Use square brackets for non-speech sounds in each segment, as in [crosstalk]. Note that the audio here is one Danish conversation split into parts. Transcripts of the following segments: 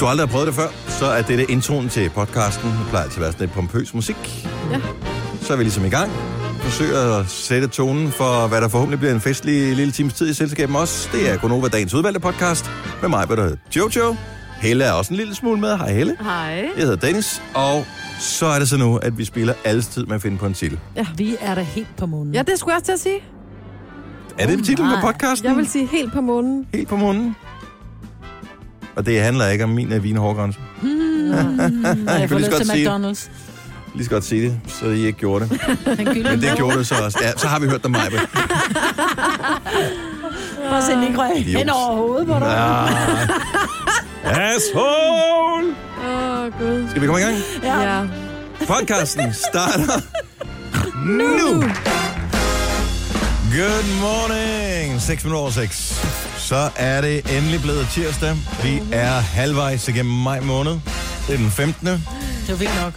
du aldrig har prøvet det før, så er dette introen til podcasten. Det plejer altid at være sådan lidt pompøs musik. Ja. Så er vi ligesom i gang. Forsøger at sætte tonen for, hvad der forhåbentlig bliver en festlig lille times tid i selskabet med os. Det er Gonova Dagens Udvalgte Podcast med mig, hvad der hedder Jojo. Helle er også en lille smule med. Hej Helle. Hej. Jeg hedder Dennis, og så er det så nu, at vi spiller alles tid med at finde på en titel. Vi er da helt på månen. Ja, det skulle jeg også til at sige. Er det titlen på nej. podcasten? Jeg vil sige helt på månen. Helt på munden. Og det handler ikke om min øh, vinhårgrænse. Ej, jeg kunne lige får lyst så godt til sige det. McDonald's. Lige så godt sige det, så I ikke gjorde det. Den gylder Men det gjorde det så også. Ja, så har vi hørt dig, Maja. Prøv at se Nico Idiot. hen over hovedet på dig. Asshole! Åh, oh, Gud. Skal vi komme i gang? Ja. ja. Podcasten starter nu. Good morning. 6 minutter over 6. Så er det endelig blevet tirsdag. Vi er halvvejs igennem maj måned. Det er den 15. Det var vildt nok.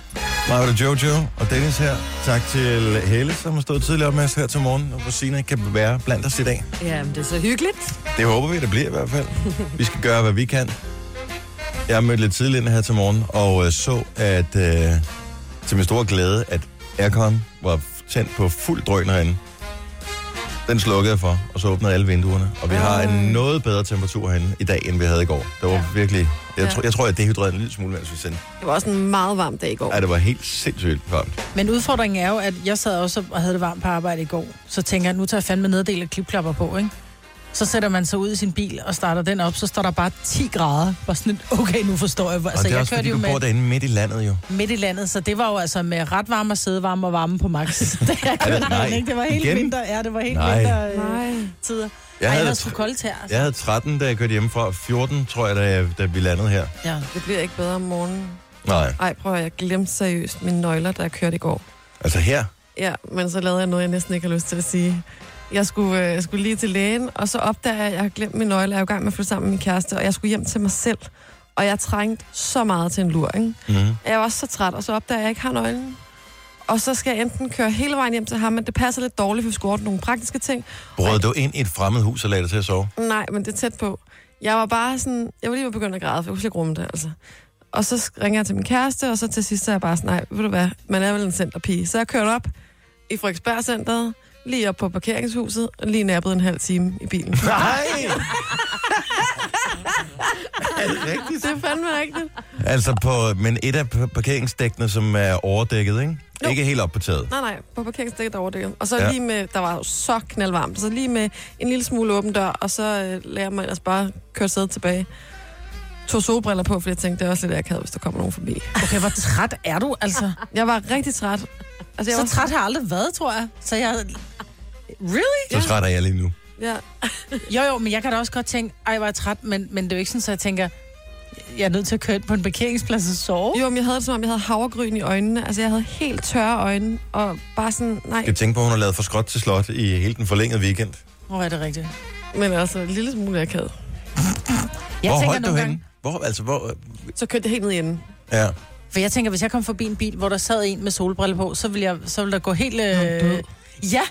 Mig var det Jojo og Dennis her. Tak til Helle, som har stået tidligere op med os her til morgen, og hvor Sina kan være blandt os i dag. Jamen, det er så hyggeligt. Det håber vi, det bliver i hvert fald. Vi skal gøre, hvad vi kan. Jeg mødte lidt tidligere her til morgen, og øh, så, at øh, til min store glæde, at aircon var tændt på fuld drøn herinde. Den slukkede jeg for, og så åbnede alle vinduerne. Og vi har en noget bedre temperatur herinde i dag, end vi havde i går. Det var ja. virkelig... Jeg, Ja. tror, jeg tror, jeg dehydrerede en lille smule, mens vi sendte. Det var også en meget varm dag i går. Ej, det var helt sindssygt varmt. Men udfordringen er jo, at jeg sad også og havde det varmt på arbejde i går. Så tænker jeg, nu tager jeg fandme neddel og klipklapper på, ikke? Så sætter man sig ud i sin bil og starter den op, så står der bare 10 grader. Bare sådan, lidt, okay, nu forstår jeg. hvor- Og Altså, det er jeg også, kørte fordi jo du bor med derinde midt i landet, jo. midt i landet, så det var jo altså med ret varme og sædevarme og varme på [laughs] max. Da jeg Er det- kørte nej. derinde, ikke? Det var helt Igen? vinter. Ja, det var helt Nej. vinter øh, Nej. tider. Jeg Jeg havde Ej, jeg havde det sgu tr- koldt her. Altså. Jeg havde 13, da jeg kørte hjemmefra, og 14, tror jeg, da, jeg, da vi landede her. Ja. Det bliver ikke bedre om morgenen. Nej, Ej, prøv at høre, jeg glemte seriøst mine nøgler, der jeg kørte i går. altså her. Ja, men så lavede jeg noget, jeg næsten ikke har lyst til at sige. Jeg skulle, øh, jeg skulle lige til lægen, og så opdager jeg, at jeg har glemt min nøgle. Jeg er jo i gang med at flytte sammen med min kæreste, og jeg skulle hjem til mig selv. Og jeg trængte så meget til en lur, ikke? Mm. Jeg var også så træt, og så opdager jeg, at jeg ikke har nøglen. Og så skal jeg enten køre hele vejen hjem til ham, men det passer lidt dårligt, for vi skulle ordne nogle praktiske ting. Brød du ind i et fremmed hus og lagde dig til at sove? Nej, men det er tæt på. Jeg var bare sådan... Jeg var lige ved at begynde at græde, for jeg kunne slet ikke rumme det, altså. Og så sk- ringer jeg til min kæreste, og så til sidst så er jeg bare sådan, nej, ved du hvad, man er vel en centerpige. Så jeg kørte op i Frederiksberg Centeret, lige op på parkeringshuset, og lige nappede en halv time i bilen. [laughs] Nej! er det rigtigt? Det er fandme rigtigt. Altså på, men et af p- parkeringsdækkene, som er overdækket, ikke? Jo. Ikke helt op på taget. Nej, nej, på parkeringsdækket overdækket. Og så Ja. ja. lige med, der var jo så knaldvarmt, så lige med en lille smule åben dør, og så øh, lader man ellers bare køre sædet tilbage. Tog solbriller på, fordi jeg tænkte, det er også lidt akavet, hvis der kommer nogen forbi. Okay, hvor træt er du, altså? [laughs] Jeg var rigtig træt. Altså, jeg var Så træt har jeg aldrig været, tror jeg. Så jeg... Really? Så træt er jeg lige nu. Ja. Jo, jo, men jeg kan da også godt tænke, ej, hvor er jeg træt, men, men det er jo ikke sådan, så jeg tænker, jeg er nødt til at køre ind på en parkeringsplads og sove. Jo, men jeg havde det som om, jeg havde havregryn i øjnene. Altså, jeg havde helt tørre øjne, og bare sådan, nej, Skal tænke på, at hun har lavet for skråt til slot i hele den forlængede weekend. Hvor er det rigtigt? men altså, en lille smule akavet. Jeg hvor tænker holdt du nogle gange, henne? Hvor, altså, hvor... Så kørte jeg helt ned i enden. Ja. for jeg tænker, hvis jeg kom forbi en bil, hvor der sad en med solbriller på, så ville, jeg, så ville der gå helt... død. Øh... Ja,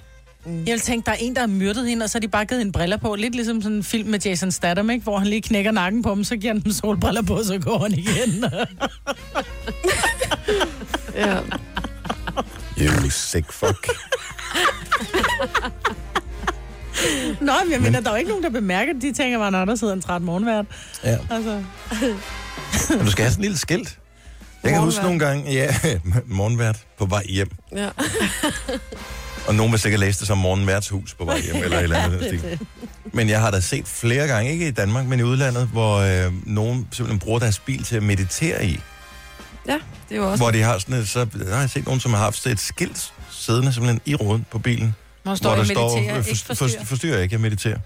jeg vil tænke, der er en, der har myrdet hende, og så har de bare givet hende briller på. Lidt ligesom sådan en film med Jason Statham, ikke? hvor han lige knækker nakken på dem, så giver han dem solbriller på, og så går han igen. Ja. You sick fuck. Nå, men jeg mener, der er jo ikke nogen, der bemærker det. De tænker bare, når der sidder en træt morgenvært. Ja. Altså, Men du skal have sådan en lille skilt. Jeg kan huske nogle gange, ja, [laughs] morgenvært på vej hjem. ja. Og nogen vil sikkert læse det som morgenværtshus på vej hjem, eller et eller andet. ja, det Men jeg har da set flere gange, ikke i Danmark, men i udlandet, hvor øh, nogen simpelthen bruger deres bil til at meditere i. ja, det var også... Hvor de har sådan et, så der har jeg set nogen, som har haft et skilt siddende simpelthen i roden på bilen. man står hvor og der mediterer, øh, ikke for- forstyrrer. for- forstyrrer ikke, jeg mediterer.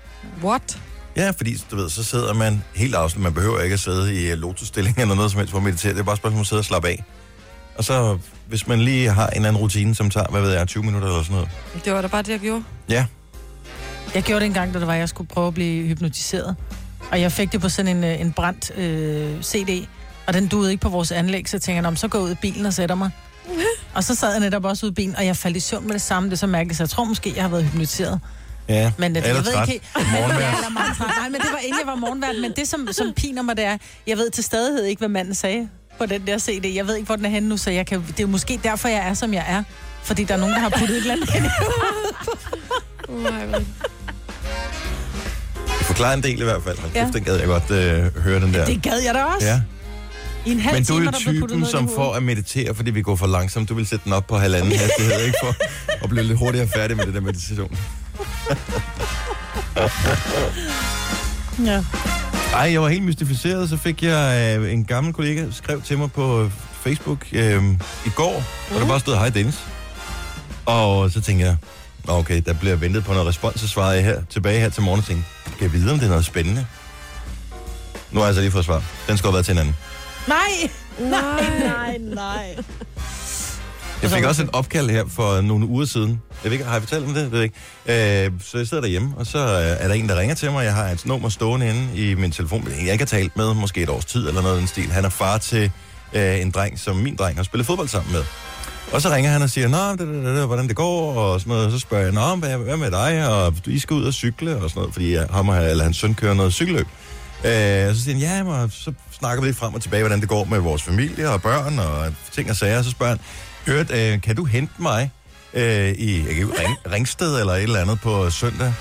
What? Ja, fordi du ved, så sidder man helt afslappet. Man behøver ikke at sidde i øh, lotusstilling eller noget som helst for at meditere. Det er bare et spørgsmål om at sidde og slappe af. Og så, hvis man lige har en eller anden rutine, som tager, hvad ved jeg, 20 minutter eller sådan noget. Det var da bare det, jeg gjorde. Ja, Jeg gjorde det en gang, da det var, jeg skulle prøve at blive hypnotiseret. Og jeg fik det på sådan en, øh, en brændt øh, CD, og den duede ikke på vores anlæg, så jeg tænkte jeg, "Nå, men så går jeg ud i bilen og sætter [laughs] mig. og så sad jeg netop også ude i bilen, og jeg faldt i søvn med det samme. Det er så mærkeligt, så jeg tror måske, jeg har været hypnotiseret. Ja, Men det, jeg ved træt. ikke helt... Men, ja, [laughs] eller meget træt. Nej, men det var inden jeg var morgenvært. Men det, som, som piner mig, det er, jeg ved til stadighed ikke, hvad manden sagde på den der CD. Jeg ved ikke, hvor den er henne nu, så jeg kan, det er jo måske derfor, jeg er, som jeg er. Fordi der er nogen, der har puttet et eller [laughs] andet ind i Nej, men- Det forklarer en del i hvert fald. Hold Ja. kæft, den gad jeg godt øh, høre, den der. Det gad jeg da også. ja. I en halv Men du time, er er jo der blev puttet typen, noget som for at meditere, fordi vi går for langsomt. Du vil sætte den op på halvanden hastighed, ikke? For at blive lidt hurtigere færdig med det der meditation. Ja. Ej, jeg var helt mystificeret, så fik jeg øh, en gammel kollega, skrev til mig på øh, Facebook øh, i går, mm. Mhm. og der bare stod, hej Dennis. Og så tænkte jeg, "Nå, okay, der bliver ventet på noget respons, så svarede jeg her, tilbage her til morgen og tænkte, kan jeg vide, om det er noget spændende? Nu har jeg så lige fået svar. Den skulle have været til en anden. Nej! Nej. Nej, nej. Jeg Og fik så- også et opkald her for nogle uger siden. Jeg ved ikke, har jeg fortalt om det? Jeg ved ikke. Øh, så jeg sidder derhjemme, og så øh, er der en, der ringer til mig. Jeg har et nummer stående inde i min telefon, men jeg ikke har talt med, måske et års tid eller noget i den stil. Han er far til øh, en dreng, som min dreng har spillet fodbold sammen med. Og så ringer han og siger, Nå, det, det, det, det, hvordan det går, og sådan noget. Så spørger jeg, Nå, hvad, hvad med dig, og I skal ud og cykle, og sådan noget, fordi jeg, ham og, eller hans søn kører noget cykelløb. Øh, og så siger han, ja, og så snakker vi lidt frem og tilbage, hvordan det går med vores familie og børn og ting og sager. Og så spørger han, hørt, øh, kan du hente mig øh, i jeg kan, ikke- ring, Ringsted eller et eller andet på søndag?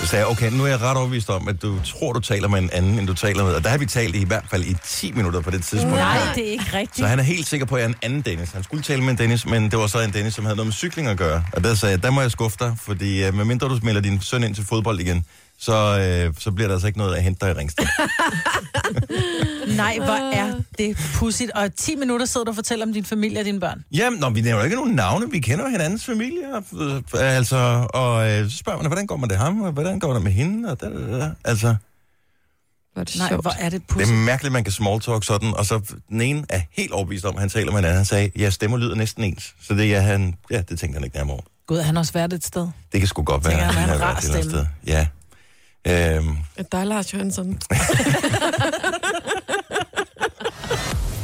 Så sagde jeg, okay, nu er jeg ret overbevist om, at du tror, du taler med en anden, end du taler med. Og der har vi talt i hvert fald i 10 minutter på det tidspunkt. Nej, det er ikke rigtigt. Så han er helt sikker på, at jeg er en anden Dennis. Han skulle tale med en Dennis, men det var så en Dennis, som havde noget med cykling at gøre. Og der sagde jeg, der må jeg skuffe dig, fordi øh, medmindre du melder din søn ind til fodbold igen, så, øh, så bliver der altså ikke noget at hente dig i Ringsted. Nej, hvor er det pudsigt. Og 10 minutter sidder du og fortæller om din familie og dine børn. Jamen, nå, vi nævner ikke nogen navne. Vi kender jo hinandens familie. og, øh, Altså, og øh, så spørger man, hvordan går man det ham? Og hvordan går det med hende? Og da, da, da, da. Altså, Hvor er det Nej, sjovt. hvor er det det er pudsigt. mærkeligt, man kan smalltalk sådan. Og så den ene er helt overbevist om, at han taler med en anden. Han sagde, ja, stemmer lyder næsten ens. Så det, ja, han, ja, det tænkte han ikke nærmere over. Gud, har han også været et sted. Det kan sgu godt være. Tænker han, at har han har været en et eller rar andet sted. Ja. Øhm, Der er Lars Jørgensen.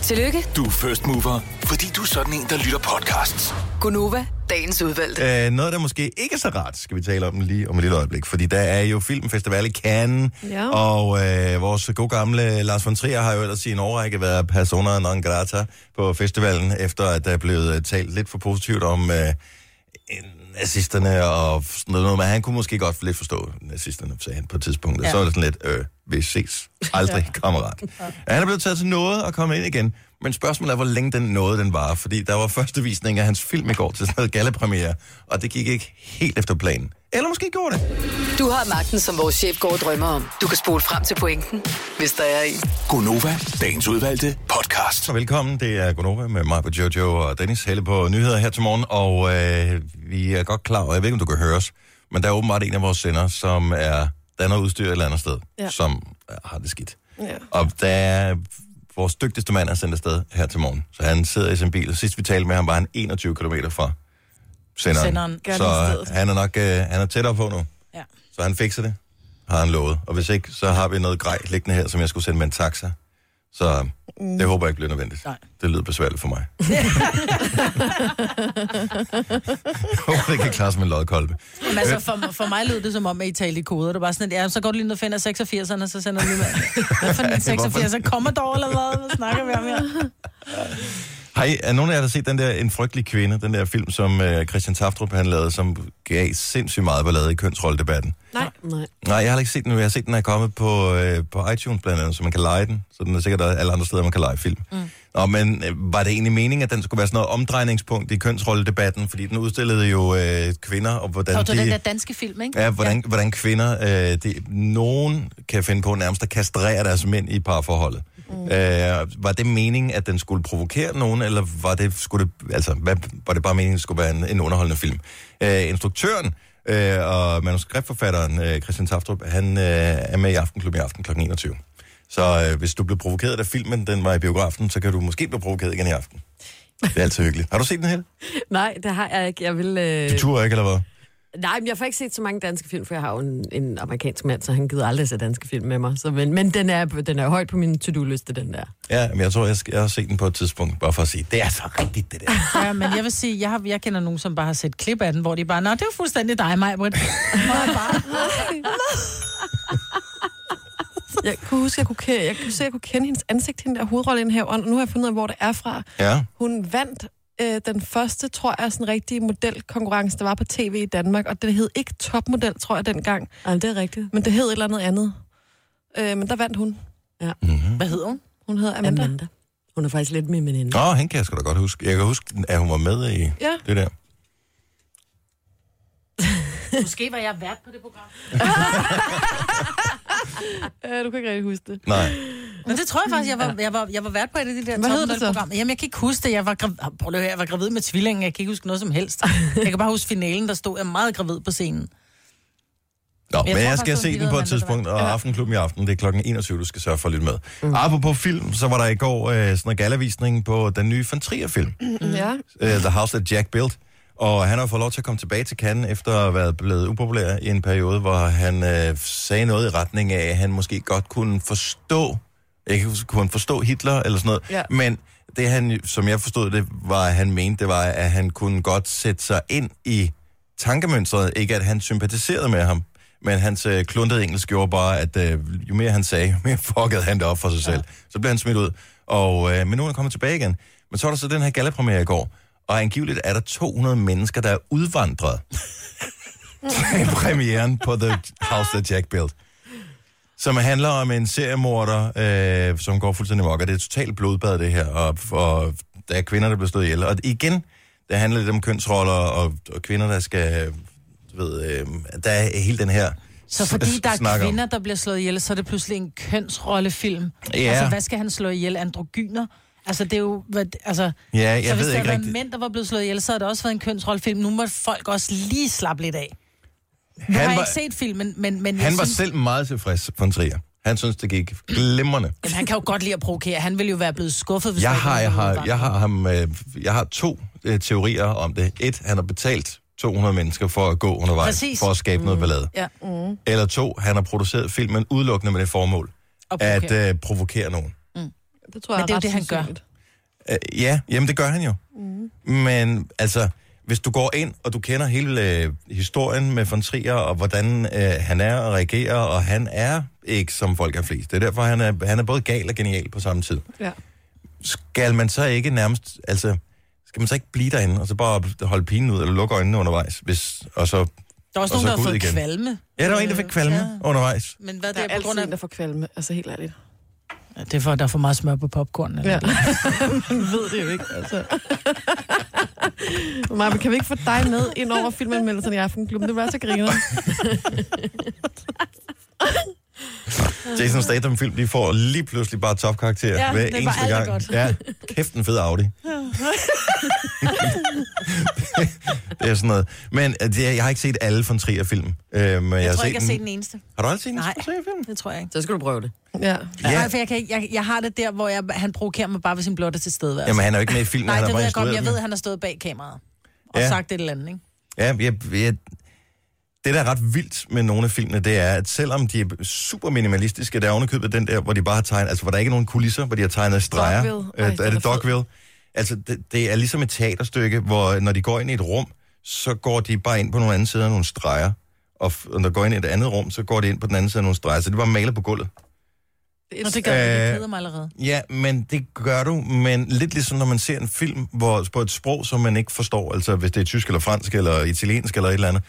Tillykke, Du er first mover, fordi du er sådan en, der lytter podcasts. Gunova, dagens udvalgte. Øh, noget, der måske ikke er så rart, skal vi tale om lige om et lille øjeblik. Fordi der er jo filmfestival i Cannes, Ja. og øh, vores gode gamle Lars von Trier har jo ellers i en årrække været persona non grata på festivalen, efter at der er blevet øh, talt lidt for positivt om øh, en- nazisterne og sådan noget, men han kunne måske godt lidt forstå nazisterne, sagde han på et tidspunkt. Ja. Ja. Så er det sådan lidt, øh, vi ses aldrig, ja. kammerat. Ja. Han er blevet taget til noget og kommet ind igen, men spørgsmålet er, hvor længe den nåede, den var, fordi der var første visning af hans film i går til sådan noget gallepremiere, og det gik ikke helt efter planen. Eller måske gjorde det. Du har magten, som vores chef går og drømmer om. Du kan spole frem til pointen, hvis der er en. Gonova, dagens udvalgte podcast. Så velkommen, det er Gonova med mig på Jojo og Dennis Helle på nyheder her til morgen, og øh, vi er godt klar, og jeg ved ikke, om du kan høre os, men der er åbenbart en af vores sender, som er, der er noget udstyr et eller andet sted, ja. Ja. som øh, har det skidt. Ja. Og der er vores dygtigste mand er sendt afsted her til morgen, så han sidder i sin bil, og sidst vi talte med ham, var han 21 km fra senderen. Senderen. Så Gerningsstedet. han er nok øh, han er tættere på nu. Ja. Så han fikser det, har han lovet. Og hvis ikke, så har vi noget grej liggende her, som jeg skulle sende med en taxa. Så øh, det håber jeg ikke bliver nødvendigt. Nej. Det lyder besværligt for mig. jeg håber, det kan klares med en lodkolbe. Men altså, for, for mig lød det som om, at I talte i koder. Det var sådan, at ja, så går du lige ned og finder 86'erne, og så sender du lige med. Hvad for en 86 er Commodore eller hvad? Hvad snakker vi om her? Hej, er nogen af jer, der har set den der En frygtelig kvinde, den der film, som øh, Christian Taftrup han lavede, som gav sindssygt meget ballade i kønsrolledebatten? Nej. Nej. Nej, jeg har heller ikke set den nu. Jeg har set den er kommet på, øh, på iTunes blandt andet, så man kan lege den. Så den er sikkert alle andre steder, man kan lege film. Mm. Nå, men øh, var det egentlig meningen, at den skulle være sådan noget omdrejningspunkt i kønsrolledebatten? Fordi den udstillede jo øh, kvinder, og hvordan Og det var de... den der danske film, ikke? Ja, hvordan, ja. hvordan kvinder, øh, det, nogen kan finde på nærmest at kastrere deres mænd i parforholdet. Mm. Øh, var det meningen, at den skulle provokere nogen, eller var det, skulle det, altså, hvad, var det bare meningen, at det skulle være en, en underholdende film? Øh, instruktøren øh, og manuskriptforfatteren øh, Christian Taftrup, han øh, er med i Aftenklubben i aften kl. 21. Så øh, hvis du blev provokeret af filmen, den var i biografen, så kan du måske blive provokeret igen i aften. Det er altid hyggeligt. Har du set den her? Nej, det har jeg ikke. Jeg vil... Øh, Du turde ikke, eller hvad? Nej, men jeg får ikke set så mange danske film, for jeg har jo en, en amerikansk mand, så han gider aldrig se danske film med mig. Så, men men den, er, den er højt på min to-do-liste, den der. Ja, men jeg tror, jeg, skal, jeg har set den på et tidspunkt, bare for at sige, det er så rigtigt, det der. Ja, men jeg vil sige, jeg, har, jeg kender nogen, som bare har set klip af den, hvor de bare, nå, det er jo fuldstændig dig, mig, [laughs] Britt. Jeg kunne huske, jeg kunne, ke- jeg kunne se, jeg kunne kende hendes ansigt, hende der hovedrolleindhaveren, og nu har jeg fundet ud af, hvor det er fra. Ja. Hun vandt øh, den første, tror jeg, sådan rigtige modelkonkurrence, der var på tv i Danmark, og det hed ikke topmodel, tror jeg, dengang. Ej, det er rigtigt. Men det hed et eller andet andet. Øh, men der vandt hun. Hvad hedder hun? Hun hed Amanda. Amanda. Amanda. Hun er faktisk lidt min veninde. Nå, han kan jeg sgu da godt huske. Jeg kan huske, at hun var med i Ja. det der. Måske var jeg vært på det program. Øh, du kan ikke rigtig huske det. Nej. Men det tror jeg faktisk, jeg var, jeg var, jeg var vært på et af de der Hvad hed det så? topmodel-programmer. Jamen, jeg kan ikke huske det. Jeg var, gravid, prøv lige at høre, jeg var gravid med tvillingen. Jeg kan ikke huske noget som helst. Jeg kan bare huske finalen, der stod jeg meget gravid på scenen. Nå, men tror jeg faktisk, skal hun se den lignede på et Amanda tidspunkt, Wahl. og Aftenklubben i aften, det er klokken 21, du skal sørge for at lytte med. Mm. Apropos film, så var der i går øh, sådan en galavisning på den nye Van Trier-film, mm. Mm. Ja. The House That Jack Built. Og han har fået lov til at komme tilbage til Cannes efter at have været blevet upopulær i en periode, hvor han øh, sagde noget i retning af, at han måske godt kunne forstå, ikke kunne han forstå Hitler eller sådan noget, Ja. men det han, som jeg forstod det, var, at han mente, det var, at han kunne godt sætte sig ind i tankemønstret. Ikke at han sympatiserede med ham, men hans øh, kluntede engelsk gjorde bare, at øh, jo mere han sagde, [laughs] jo mere fuckede han det op for sig selv. Så blev han smidt ud. Og, øh, men nu er han kommet tilbage igen. Men så var der så den her gallepremiere i går, og angiveligt er der 200 mennesker, der er udvandret til premieren på The House That Jack Built som handler om en seriemorder, øh, som går fuldstændig mok, og det er et totalt blodbad, det her, og, og der er kvinder, der bliver slået ihjel. Og igen, det handler lidt om kønsroller, og, og kvinder, der skal, du ved, øh, der er hele den her Så s- [laughs] fordi der s- snak er om- kvinder, der bliver slået ihjel, så er det pludselig en kønsrollefilm. Ja. Altså, hvad skal han slå ihjel? Androgyner? Altså, det er jo... Hvad, altså, Ja, jeg så hvis ved der ikke havde rigtig- været mænd, der var blevet slået ihjel, så havde det også været en kønsrollefilm. Nu må folk også lige slappe lidt af. Nu Han har jeg var- ikke set filmen, men... men jeg Han var synes- selv meget tilfreds, von Trier. Han synes, det gik glimrende. Jamen, han kan jo godt lide at provokere. Han ville jo være blevet skuffet, hvis Jeg der ikke har, var jeg nogen har, udvandring. jeg har, ham, øh, jeg har to øh, teorier om det. Et, han har betalt 200 mennesker for at gå undervejs, Præcis. for at skabe mm. noget ballade. Ja. Mm. Eller to, han har produceret filmen udelukkende med det formål, Og at provokere. øh, provokere nogen. Det tror jeg Men det er jo ret det, han gør. sandsynligt. Øh, ja, jamen det gør han jo. Mm. Men altså, hvis du går ind, og du kender hele øh, historien med von Trier, og hvordan øh, han er og reagerer, og han er ikke som folk er flest. Det er derfor, han er, han er både gal og genial på samme tid. Ja. Skal man så ikke nærmest, altså, skal man så ikke blive derinde, og så bare holde pinen ud, eller lukke øjnene undervejs? Hvis, og så, Der er også og så nogen, der har gå ud fået igen. igen. kvalme. ja, der var en, der fik Øh, kvalme ja. undervejs. Men hvad Der det er er på altid grund en, der af... får kvalme. Altså helt ærligt. Ja, Det er for, at der er for meget smør på popcorn. [laughs] Eller? Ja. Man ved det jo ikke, altså. [laughs] Maja, men kan vi ikke få dig med ind over filmanmeldelsen i Aftenklubben? Det var så griner. Jason Statham-film, de får lige pludselig bare topkarakter ja, Ja, hver det var eneste alt er gang. godt. Ja, kæft en fed [laughs] Audi. det er sådan noget. Men øh, det, er- jeg har ikke set alle von Trier-film. Øh, men jeg, Jeg, har tror set ikke, jeg har den. set den eneste. Har du aldrig set en Nej. von Trier-film? Det tror jeg ikke. Så skal du prøve det. Ja. Ja. Nej, for jeg, kan ikke, jeg, jeg har det der, hvor jeg, han provokerer mig bare ved sin blotte tilstedeværelse. Jamen, han er jo ikke med i filmen, Nej, han det har ved bare jeg godt, men jeg instrueret ved, den. at han har stået bag kameraet Ja. og ja. sagt et eller andet, ikke? Ja, jeg, jeg, det, der er ret vildt med nogle af filmene, det er, at selvom de er super minimalistiske, der er ovenikøbet den der, hvor de bare har tegnet, altså hvor der ikke er nogen kulisser, hvor de har tegnet streger. Dogville. Øh, Ej, er den er det fed. Dogville? Altså, det, det er ligesom et teaterstykke, hvor når de går ind i et rum, så går de bare ind på nogle anden side af nogle streger. Og f- når de går ind i et andet rum, så går de ind på den anden side af nogle streger. Så det var malet på gulvet. Nå, det gør jeg, Øh, jeg keder mig allerede. Ja, men det gør du, men lidt ligesom når man ser en film hvor, på et sprog, som man ikke forstår, altså hvis det er tysk eller fransk eller italiensk eller et eller andet.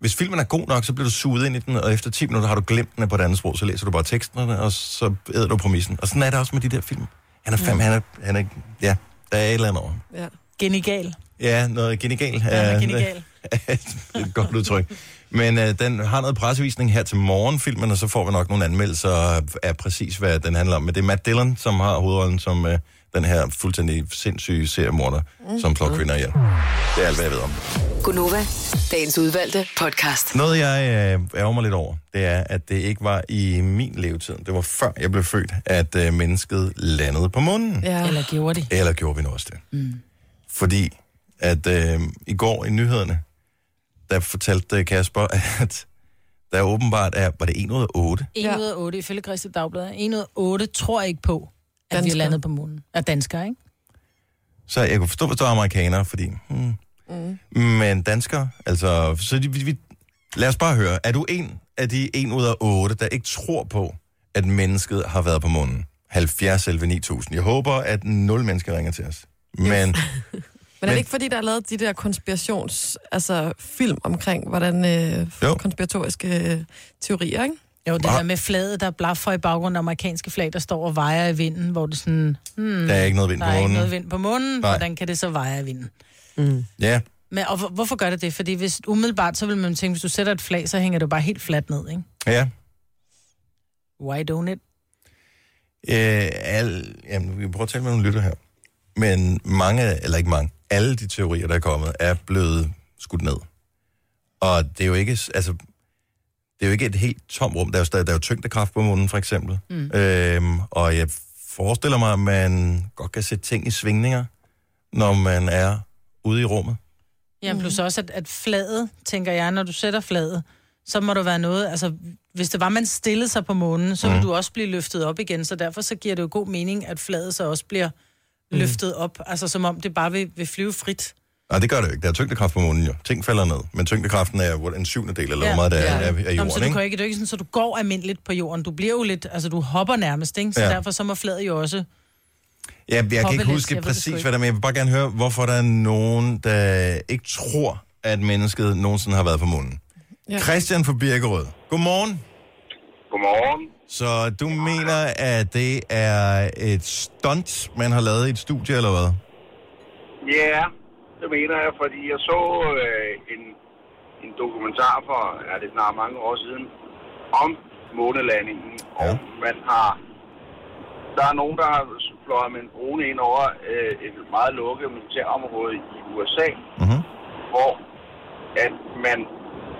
Hvis filmen er god nok, så bliver du suget ind i den, og efter 10 minutter har du glemt den er på et andet sprog, så læser du bare teksterne, og så æder du præmissen. Og sådan er det også med de der film. Han er fem, han er, han er, ja, der er et eller andet over. ja. Genigal. Ja, noget genigal. Han er øh, genigal. [laughs] et godt udtryk. Men øh, den har noget pressevisning her til morgen, filmen, og så får vi nok nogle anmeldelser af præcis, hvad den handler om. Men det er Matt Dillon, som har hovedrollen som øh, den her fuldstændig sindssyge seriemorder, mm. som slår kvinder ihjel. Det er alt, hvad jeg ved om. det. Gunova, dagens udvalgte podcast. Noget, jeg øh, ærger mig lidt over, det er, at det ikke var i min levetid, det var før jeg blev født, at øh, mennesket landede på månen. ja. Eller gjorde de. Eller gjorde vi nu også det? Mm. Fordi at øh, i går i nyhederne, der fortalte øh, Kasper, [laughs] at der åbenbart er, var det 1 ud af 8? 1 Ja. ud af 8 ifølge Christi Dagblad. 1 ud af 8 tror ikke på, at danskere. vi Danskere. er landet på månen. Er danskere, ikke? Så jeg kunne forstå, hvis det var amerikanere, fordi... Hmm. Mm. Men danskere, altså... Så de, vi, vi, lad os bare høre. Er du en af de 1 ud af 8, der ikke tror på, at mennesket har været på månen? 70 11 9000. Jeg håber, at nul mennesker ringer til os. Men Men er det ikke fordi, der er lavet de der konspirations, altså film omkring, hvordan øh, Jo. konspiratoriske øh, teorier, ikke? Jo, det Ah. der med flaget, der blaffer i baggrunden, amerikanske flag, der står og vejer i vinden, hvor det sådan, der er ikke noget vind der på er ikke noget månen. vind på månen, Nej. hvordan kan det så veje i vinden? Ja, Men, og hvor- hvorfor gør det det? Fordi hvis umiddelbart, så vil man tænke, hvis du sætter et flag, så hænger det jo bare helt fladt ned, ikke? ja. Why don't it? Øh, al, jamen, vi kan prøve at tale med nogle lytter her. Men mange, eller ikke mange, alle de teorier, der er kommet, er blevet skudt ned. Og det er jo ikke, s- altså, det er jo ikke et helt tomt rum. Der er jo, stadig, der er jo tyngdekraft på månen, for eksempel. Mm. Øhm, og jeg forestiller mig, at man godt kan sætte ting i svingninger, når man er ude i rummet. Jamen plus også, at, at flaget, tænker jeg, når du sætter flaget, så må der være noget, altså hvis det var, man stillede sig på månen, så ville Mhm. du også blive løftet op igen, så derfor så giver det jo god mening, at flaget så også bliver Mhm. løftet op, altså som om det bare vil, vil flyve frit. Nej, det gør det jo ikke. Der er tyngdekraft på månen jo. Ting falder ned. Men tyngdekraften er jo en syvende del, eller hvor Ja, meget der ja. er, er, er jorden, Nå, men så du ikke? kan ikke, det er jo ikke sådan, så du går almindeligt på jorden, du bliver jo lidt, altså du hopper nærmest, ikke? så Ja. ja. derfor så må flaget jo også Ja, jeg kan Hoppe ikke lidt, huske jeg ved det sgu præcis, ikke. hvad der er, men jeg vil bare gerne høre, hvorfor der er nogen, der ikke tror, at mennesket nogensinde har været på månen. Ja. Ja. Christian fra Birkerød. Godmorgen. Godmorgen. Så du mener, at det er et stunt, man har lavet i et studie, eller hvad? Ja, det mener jeg, fordi jeg så øh, en, en dokumentar for, ja, det er snart mange år siden, om månelandingen. Ja. Og man har, der er nogen, der har fløjet med en drone ind over øh, et meget lukket militærområde i USA, Mm-hmm. hvor at man,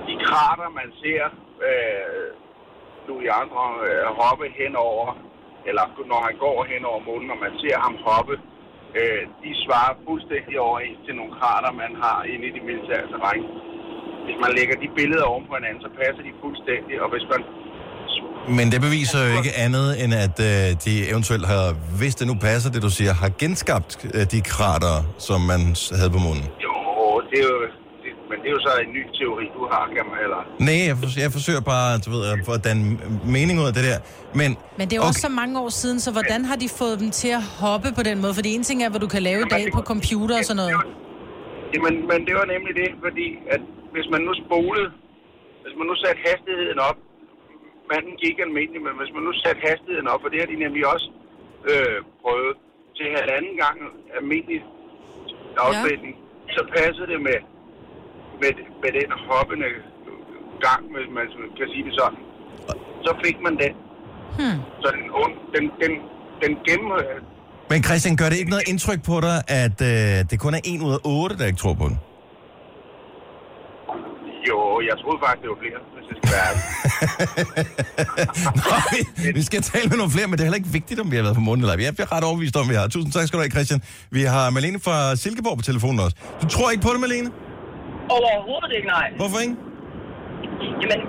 de krater, man ser øh, Louis Armstrong øh, hoppe henover, eller når han går hen over månen, og man ser ham hoppe, øh, de svarer fuldstændig overens til nogle krater, man har inde i det militære terræn. Hvis man lægger de billeder oven på hinanden, så passer de fuldstændig, og hvis man Men det beviser jo ikke andet, end at øh, de eventuelt har, hvis det nu passer, det du siger, har genskabt øh, de krater, som man s- havde på månen. jo, det er jo, det, men det er jo så en ny teori, du har, kan man, eller Nej, jeg, for, jeg forsøger bare du ved, at få den mening ud af det der. Men, Men det er jo okay. også så mange år siden, så hvordan har de fået dem til at hoppe på den måde? For det ene ting er, hvad du kan lave i dag på computer og sådan noget. Jamen, men det var nemlig det, fordi at hvis man nu spolede, hvis man nu satte hastigheden op, manden gik almindelig, men hvis man nu satte hastigheden op, og det har de nemlig også øh, prøvet, til halvanden gang almindelig afspænding, ja. så passede det med, med, med den hoppende gang, hvis man kan sige det sådan. Så fik man den. Hmm. Så den, und- den, den, den gennem, Men Christian, gør det ikke noget indtryk på dig, at øh, det kun er 1 ud af 8, der ikke tror på den? Jo, jeg troede faktisk, det var flere, hvis jeg skal være ærlig. Nå, vi, vi skal tale med nogle flere, men det er heller ikke vigtigt, om vi har været på månen eller ej. Jeg er ret overbevist om, vi har. Tusind tak skal du have, Christian. Vi har Malene fra Silkeborg på telefonen også. Du tror ikke på det, Malene? Overhovedet ikke, nej. Hvorfor ikke? Jamen,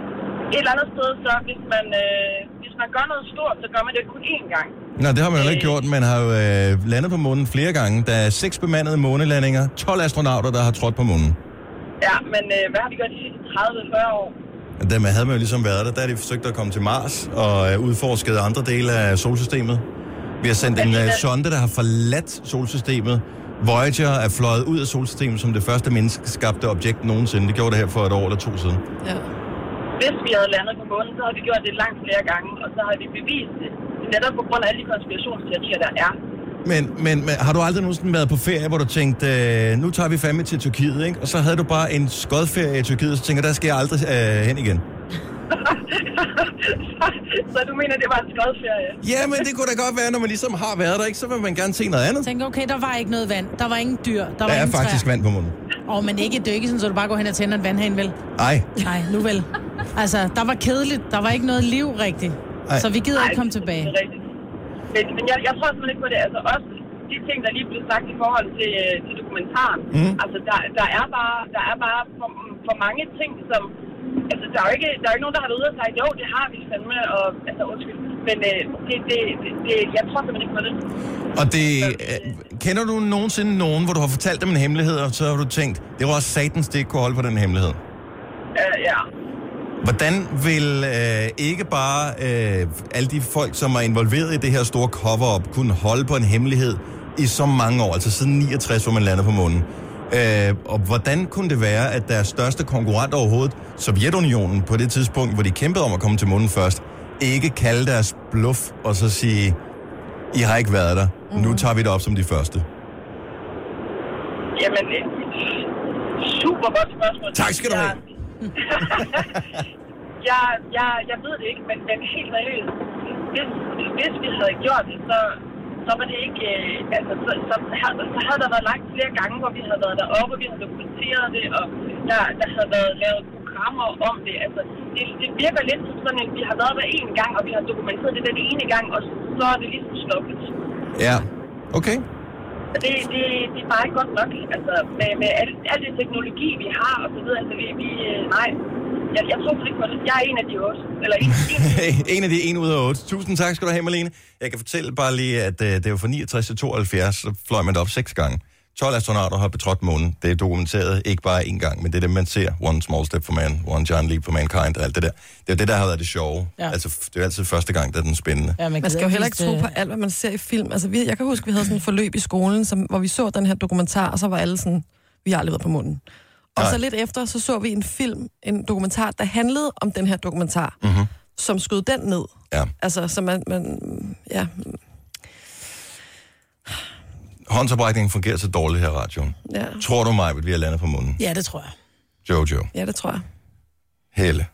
et eller andet sted, så hvis man, øh, hvis man gør noget stort, så gør man det kun én gang. Nej, det har man jo ikke gjort. Man har jo øh, landet på månen flere gange. Der er seks bemandede månelandinger, 12 astronauter, der har trådt på månen. Ja, men øh, hvad har vi gjort de sidste 30-40 år? Dem havde man jo ligesom været der. Der har de forsøgt at komme til Mars og øh, udforsket andre dele af solsystemet. Vi har sendt en øh, sonde, der har forladt solsystemet. Voyager er fløjet ud af solsystemet som det første menneskeskabte objekt nogensinde. Det gjorde det her for et år eller to siden. Ja. Hvis vi havde landet på månen, så har vi gjort det langt flere gange, og så har vi bevist det. Netop på grund af alle de konspirationsteorier, der er. [laughs] Men, men, men har du aldrig nogensinde været på ferie, hvor du tænkte, øh, nu tager vi fandme til Tyrkiet, ikke? Og så havde du bare en skodferie i Tyrkiet, og så tænker, der skal jeg aldrig øh, hen igen. så du mener, det var en skodferie? Ja, men det kunne da godt være, når man ligesom har været der, ikke? Så vil man gerne se noget andet. Tænk, okay, der var ikke noget vand, der var ingen dyr, der, Der var er ingen faktisk træer. vand på munden. Åh, oh, men ikke, det er ikke sådan, så du bare går hen og tænder en vandhane, vel? Ej, Nej, nu vel. Altså, der var kedeligt, der var ikke noget liv rigtigt. Ej. Så vi gider ikke komme det er tilbage. rigtigt. Men, men jeg, jeg tror simpelthen ikke på det. Altså også de ting, der lige blev sagt i forhold til, øh, til dokumentaren. Mm. Altså, der, der, er bare, der er bare for for mange ting, som... Altså, der er jo ikke, der er jo ikke nogen, der har været ude og sige, jo, det har vi fandme, og... Altså, undskyld. Men øh, det, det, det, det, jeg tror simpelthen ikke på det. Og det, øh, kender du nogensinde nogen, hvor du har fortalt dem en hemmelighed, og så har du tænkt, det var også satans, det ikke kunne holde på den hemmelighed? Øh, ja. Hvordan vil øh, ikke bare øh, alle de folk, som er involveret i det her store cover-up, kunne holde på en hemmelighed i så mange år, altså siden 69, hvor man lander på månen? Øh, og hvordan kunne det være, at deres største konkurrent overhovedet, Sovjetunionen, på det tidspunkt, hvor de kæmpede om at komme til månen først, ikke kalde deres bluff og så sige, I har ikke været der, nu tager vi det op som de første? Jamen, øh, super godt spørgsmål. Tak skal du have. Jeg- jeg, jeg, jeg ved det ikke, men, men helt seriøst, hvis, hvis vi havde gjort det, så, så var det ikke, øh, altså, så, så, havde, så havde der været lagt flere gange, hvor vi havde været deroppe, og vi havde dokumenteret det, og der, der havde været lavet programmer om det. Altså, det, det virker lidt som sådan, at vi har været der én gang, og vi har dokumenteret det den ene gang, og så er det ligesom stoppet. Ja, okay. [laughs] Og Det, det, det er bare ikke godt nok, altså, med, med al, al den teknologi, vi har, og så videre, altså, vi, vi øh, nej, jeg, jeg tror slet ikke på det. Jeg er en af de også, eller en, en en af de en ud af otte. Tusind tak skal du have, Malene. Jeg kan fortælle bare lige, at øh, det var fra 69 til 72, så fløj man det op seks gange. 12 astronauter har betrådt månen. Det er dokumenteret ikke bare én gang, men det er det, man ser. One small step for man, one giant leap for mankind, og alt det der. Det er det, der har været det sjove. Ja. Ja. Altså, f- det er altid første gang, der er den spændende. Ja, Man skal jo heller ikke tro på alt, hvad man ser i film. Altså, vi, jeg kan huske, vi havde sådan et forløb i skolen, som, hvor vi så den her dokumentar, og så var alle sådan, vi har aldrig været på munden. Og Nej. så lidt efter, så så vi en film, en dokumentar, der handlede om den her dokumentar, mm-hmm. som skød den ned. Mhm. Ja. Altså, så man, man ja, Håndsoprækningen fungerer så dårligt her i radioen. ja, Tror du mig, at vi har landet på månen? Ja, det tror jeg. Jojo. ja, det tror jeg. Helle.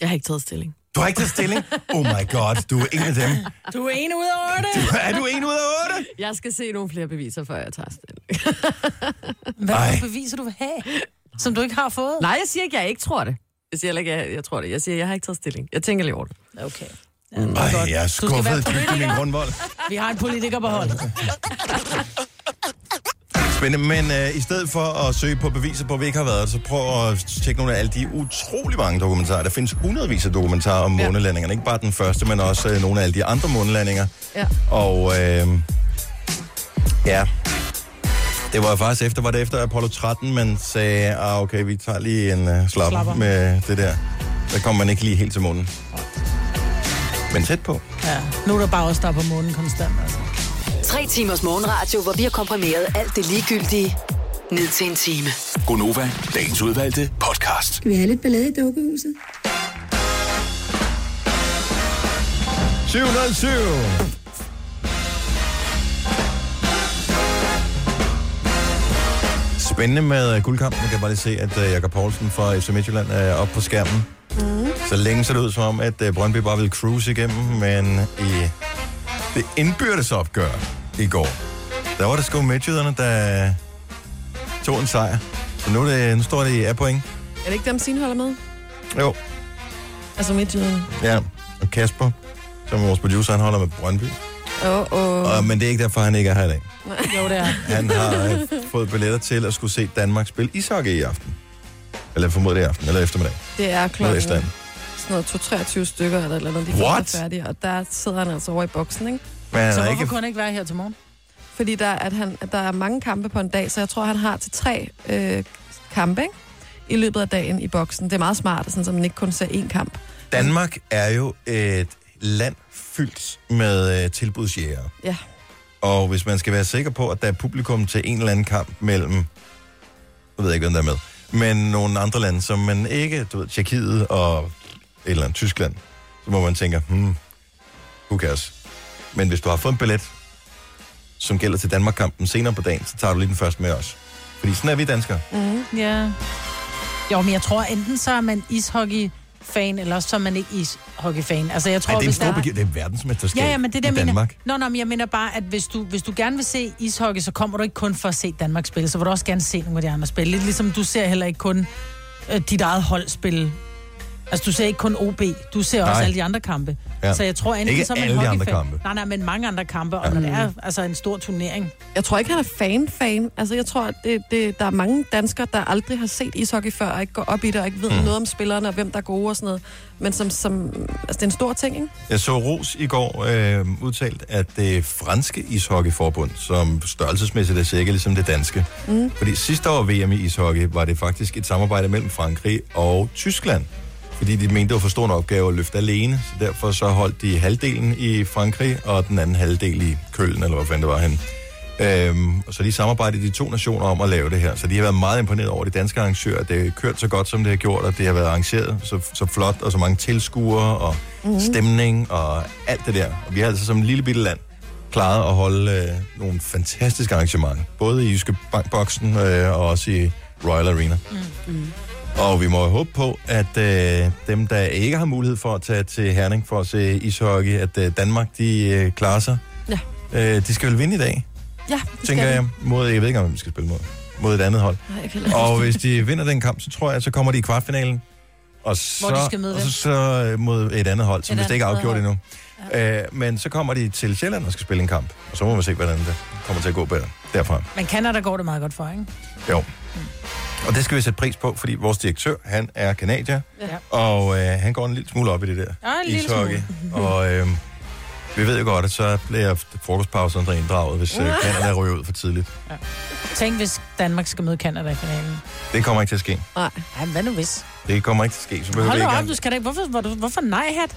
Jeg har ikke taget stilling. Du har ikke taget stilling? Oh my god, du er en af dem. Du er en ud over det. Er du en ud af otte? Jeg skal se nogle flere beviser, før jeg tager stilling. Hvad Ej. for beviser du vil have, som du ikke har fået? Nej, jeg siger ikke, jeg ikke tror det. Jeg siger heller ikke, jeg, jeg tror det. Jeg siger, jeg har ikke taget stilling. Jeg tænker lige over det. Okay. Ej, jeg er Du skal være skuffet dybt i min grundvold. Vi har en politiker på holdet. Spændende, men øh, i stedet for at søge på beviser på, at vi ikke har været, så prøv at tjekke nogle af alle de utrolig mange dokumentarer. Der findes hundredvis af dokumentarer om månelandingerne. Ikke bare den første, men også øh, nogle af alle de andre månelandinger. Ja. Og øh, ja, det var faktisk efter, var det efter Apollo 13, man sagde, ah, okay, vi tager lige en øh, slap Slapper. med det der. Der kommer man ikke lige helt til månen. Men tæt på. Ja. Nu er der bare også der er på månen konstant. Altså. Tre timers morgenradio, hvor vi har komprimeret alt det ligegyldige ned til en time. Gonova, dagens udvalgte podcast. Vi har lidt ballade i dukkehuset. 707. Spændende med øh, guldkamp. Man kan bare lige se, at øh, Jakob Poulsen fra FC Midtjylland er oppe på skærmen. Mm. Så længe så det ud som om, at øh, Brøndby bare ville cruise igennem, men i det indbyrdes opgør i går, der var det sgu midtjyderne, der tog en sejr. Så nu, er det, nu står det i A point. Er det ikke dem, Signe holder med? Jo, Altså midtjyderne. ja. Og Kasper, som er vores producer, han holder med Brøndby. Åh, oh, åh. Oh. Og, men det er ikke derfor, han ikke er her i dag. Jo, det er. Han har [laughs] øh, fået billetter til at skulle se Danmark spille ishockey i aften. Eller formodet det er i aften, eller eftermiddag. Det er Noget i klokken stand. sådan noget 2-23 stykker eller et eller andet. De kan What? være færdige, og der sidder han altså over i boksen, ikke? Men han Så er hvorfor ikke... kunne han ikke være her til morgen? fordi der, at han, at der er mange kampe på en dag, så jeg tror, han har til tre øh, kampe ikke? i løbet af dagen i boksen. Det er meget smart, sådan, så man ikke kun ser én kamp. Danmark er jo et land fyldt med øh, tilbudsjæger. Ja, Og hvis man skal være sikker på, at der er publikum til en eller anden kamp mellem... Jeg ved ikke, hvem der er med. Men nogle andre lande, som man ikke... Du ved, Tjekkiet og et eller andet Tyskland. Så må man tænke, hmm, who cares? Men hvis du har fået en billet, som gælder til Danmark-kampen senere på dagen, så tager du lige den første med os. Fordi sådan er vi danskere. Ja. Jo, men jeg tror, enten så er man ishockey-fan, eller også så er man ikke ishockey-fan. Altså, jeg tror, Ej, det er en hvis stor der... begivenhed. Det er verdensmesterskab Ja, ja, men det der i mener... Danmark. Nå, nå, men jeg mener bare, at hvis du, hvis du gerne vil se ishockey, så kommer du ikke kun for at se Danmark spille, så vil du også gerne se nogle af de andre spille. Lidt ligesom du ser heller ikke kun øh, dit eget hold spille Altså, du ser ikke kun OB, du ser også Nej. alle de andre kampe. Ja. Ja. Så jeg tror enten, Ikke så er man alle de andre hockeyfan. kampe. Nej, nej, men mange andre kampe, og når det er altså en stor turnering. Jeg tror ikke, han er fan-fan. Altså, jeg tror, at det, det, der er mange danskere, der aldrig har set ishockey før, og ikke går op i det, og ikke ved mm. noget om spillerne, og hvem der er gode og sådan noget. Men som, som, altså, det er en stor ting, ikke? Jeg så Ros i går øh, udtalt, at det franske ishockeyforbund, som størrelsesmæssigt er cirka ligesom det danske. Mm. Fordi sidste år VM i ishockey var det faktisk et samarbejde mellem Frankrig og Tyskland. Fordi de mente, det var for stor en opgave at løfte alene. Så derfor så holdt de halvdelen i Frankrig, og den anden halvdel i Køln, eller hvor fanden det var henne. Øhm, og så de samarbejdede de to nationer om at lave det her. Så de har været meget imponeret over de danske arrangører. Det har kørt så godt, som det har gjort, og det har været arrangeret så, så flot, og så mange tilskuere, og mm. stemning, og alt det der. Og vi har altså som et lille bitte land klaret at holde øh, nogle fantastiske arrangementer. Både i Jyske Bankboksen øh, og også i Royal Arena. Mm. Og vi må jo håbe på, at øh, dem, der ikke har mulighed for at tage til Herning for at se ishockey, at øh, Danmark, de øh, klarer sig. Ja. Øh, de skal vel vinde i dag? Ja, det tænker skal jeg, mod, jeg ved ikke, om vi skal spille mod, mod et andet [laughs] hold. Nej, jeg kan heller ikke Og hvis de vinder den kamp, så tror jeg, at så kommer de i kvartfinalen. Og så, de skal møde og hvem? så, så øh, mod et andet hold, som Et vist ikke er andet afgjort endnu. Ja. Øh, men så kommer de til Sjælland og skal spille en kamp. Og så må man se, hvordan det kommer til at gå bedre derfra. Men Canada går det meget godt for, ikke? Jo. Og det skal vi sætte pris på, fordi vores direktør, han er kanadier, ja. og øh, han går en lille smule op i det der Ja, en lille [laughs] og øh, vi ved jo godt, at så bliver frokostpauserne inddraget, hvis øh, Canada ryger ud for tidligt. Tænk, hvis Danmark skal møde Canada i finalen. Det kommer ikke til at ske. Nej. Ej, hvad nu hvis? Det kommer ikke til at ske. Så behøver Hold vi nu ikke op, engang- du skal da ikke. Hvorfor, hvor, hvorfor nej, hat?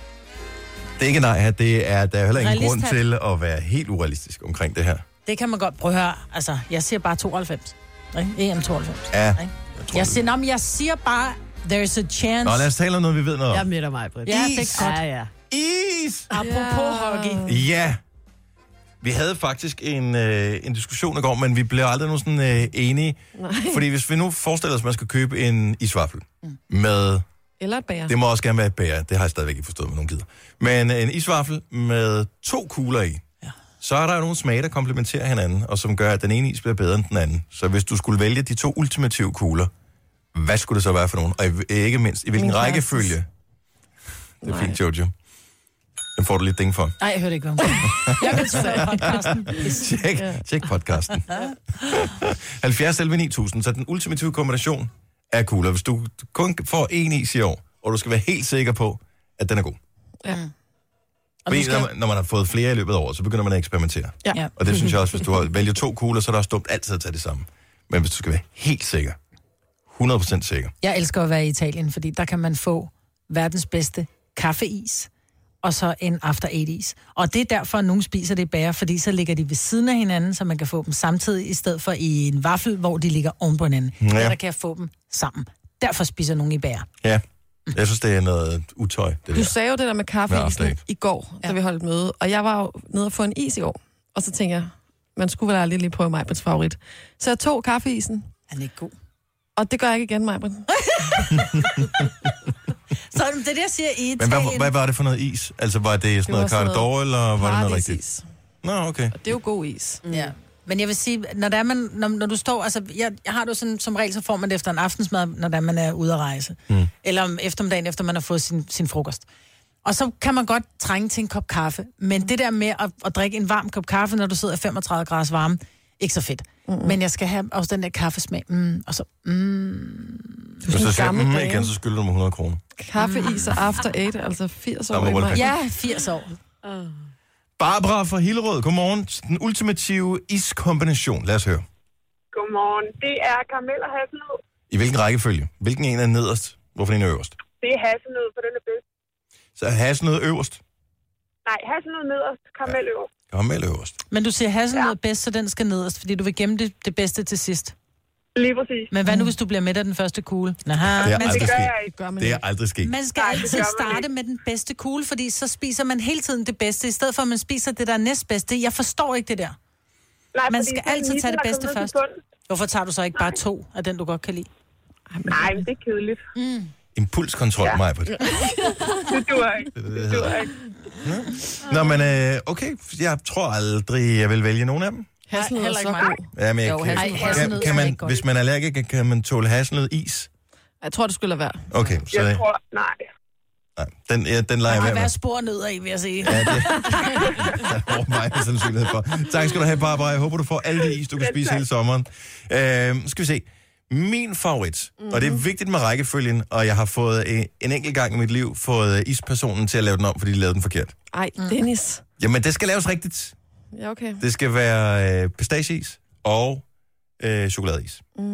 Det er ikke nej her. Det er, der er heller ingen Realist grund her. til at være helt urealistisk omkring det her. Det kan man godt prøve at høre. Altså, jeg siger bare 92. Ikke? EM 92. Ja. Ikke? Jeg tror, Jeg det- siger, nå, men jeg siger bare, there's a chance. Nå, lad os tale om noget, vi ved noget Jeg om. møder mig, Britt. Ja, det er godt. Ja, ja. Is! Apropos hockey. Ja! Vi havde faktisk en, øh, en diskussion i går, men vi blev aldrig nogen sådan øh, enige. Nej. Fordi hvis vi nu forestiller os, at man skal købe en isvaffel mm. med... Eller et bager. Det må også gerne være et bære. Det har jeg stadigvæk ikke forstået med nogen gider. Men øh, en isvaffel med to kugler i. så er der jo nogle smage, der komplementerer hinanden, og som gør, at den ene is bliver bedre end den anden. Så hvis du skulle vælge de to ultimative kugler, hvad skulle det så være for nogen? Og i- ikke mindst, i hvilken Ingen rækkefølge? Det er fint, Jojo. Den får du lidt ding for. Nej, jeg hørte ikke, hvad hun sagde. Jeg kan tage podcasten. Tjek, tjek podcasten. 70 11 9000, så den ultimative kombination er kugler. Hvis du kun får én is i år, og du skal være helt sikker på, at den er god. Ja. Og Fordi nu skal... når, man, når man har fået flere i løbet af året, så begynder man at eksperimentere. Ja. Og det synes jeg også, hvis du har- vælger to kugler, så er det også dumt altid at tage det samme. Men hvis du skal være helt sikker, 100% sikker. Jeg elsker at være i Italien, fordi der kan man få verdens bedste kaffeis, og så en after eight is. Og det er derfor, at nogen spiser det i bager, fordi så ligger de ved siden af hinanden, så man kan få dem samtidig, i stedet for i en vaffel, hvor de ligger oven på hinanden. Ja. Der kan jeg få dem sammen. Derfor spiser nogen i bager. Ja. Jeg synes, det er noget utøj, det Du der. sagde jo det der med Ja, kaffeisen slet. i går, da vi holdt møde. Og jeg var jo nede og få en is i år. Og så tænkte jeg, man skulle vel aldrig lige prøve Majbrits favorit. Så jeg tog kaffeisen, Han er ikke god. og det gør jeg ikke igen, Majbrit. Så det er det, jeg siger i Men Italien. hvad, hvad var det for noget is? Altså, var det sådan var noget sådan Cardor, eller var det noget rigtigt? Paradisis. Nå, okay. Og det er jo god is. Ja. Men jeg vil sige, når, der er man, når, når du står, altså jeg, jeg har du sådan, som regel, så får man det efter en aftensmad, når der man er ude at rejse. Mm. Eller om eftermiddagen, efter man har fået sin, sin frokost. Og så kan man godt trænge til en kop kaffe, men det der med at, at drikke en varm kop kaffe, når du sidder i 35 grader varme, ikke så fedt. Mm-hmm. Men jeg skal have også den der kaffesmag, mm, og så Hvis du siger, gammel mm, dame. igen, så skylder du mig 100 kroner. Kaffeis og after eight, altså 80 Der år må i vel mig. være- Ja, Ja, 80 år. Barbara fra Hillerød, godmorgen. Den ultimative iskombination. Lad os høre. Godmorgen. Det er karamel og hasselnød. I hvilken rækkefølge? Hvilken en er nederst? Hvorfor den er øverst? Det er hasselnød, for den er bedst. Så er hasselnød øverst. Nej, hasselnød nederst, karamel øverst. Karamel øverst. Men du siger hasselnød ja. bedst, så den skal nederst, fordi du vil gemme det, det bedste til sidst. Lige præcis. Men hvad nu, hvis du bliver med af den første kugle? Naha, Det er men Det aldrig gør sket. jeg ikke. gør man Det er ikke. aldrig sket. Man skal Nej, det altid gør man starte ikke. med den bedste kugle, fordi så spiser man hele tiden det bedste, i stedet for at man spiser det, der er næstbedste. Jeg forstår ikke det der. Nej, Man fordi skal så er altid nissen, tage det der bedste kommer ned til først. bunden. Hvorfor tager du så ikke bare to af den, du godt kan lide? Nej, men det er [laughs] kedeligt. Impulskontrol, ja. Majbert. Det duer ikke. det, Det det duer hedder. ikke. Nå, men øh, okay, jeg tror aldrig, jeg vil vælge nogen af dem. Hasselnød er heller så ikke mig. god. Ja, men jeg Jo, kan, hasselnød. Ej, kan, hasselnød kan er man, ikke godt. hvis man er allergiker, kan man tåle hasselnød is? Jeg tror, det skulle lade være. Okay, Jeg så tror, nej. Nej, den, ja, den leger Der jeg har med. været [laughs] spor nedad, vil jeg sige. Ja, det er overvejende sandsynlighed for. Tak skal du have, Barbara. Jeg håber, du får alle de is, du kan spise hele sommeren. Øh, skal vi se. Min favorit, mm-hmm. og det er vigtigt med rækkefølgen, og jeg har fået øh, en enkelt gang i mit liv fået øh, ispersonen til at lave den om, fordi de lavede den forkert. Ej, Mm. Dennis. Jamen, det skal laves rigtigt. Ja, okay. Det skal være øh, pistachieis og øh, chokoladeis. Mm.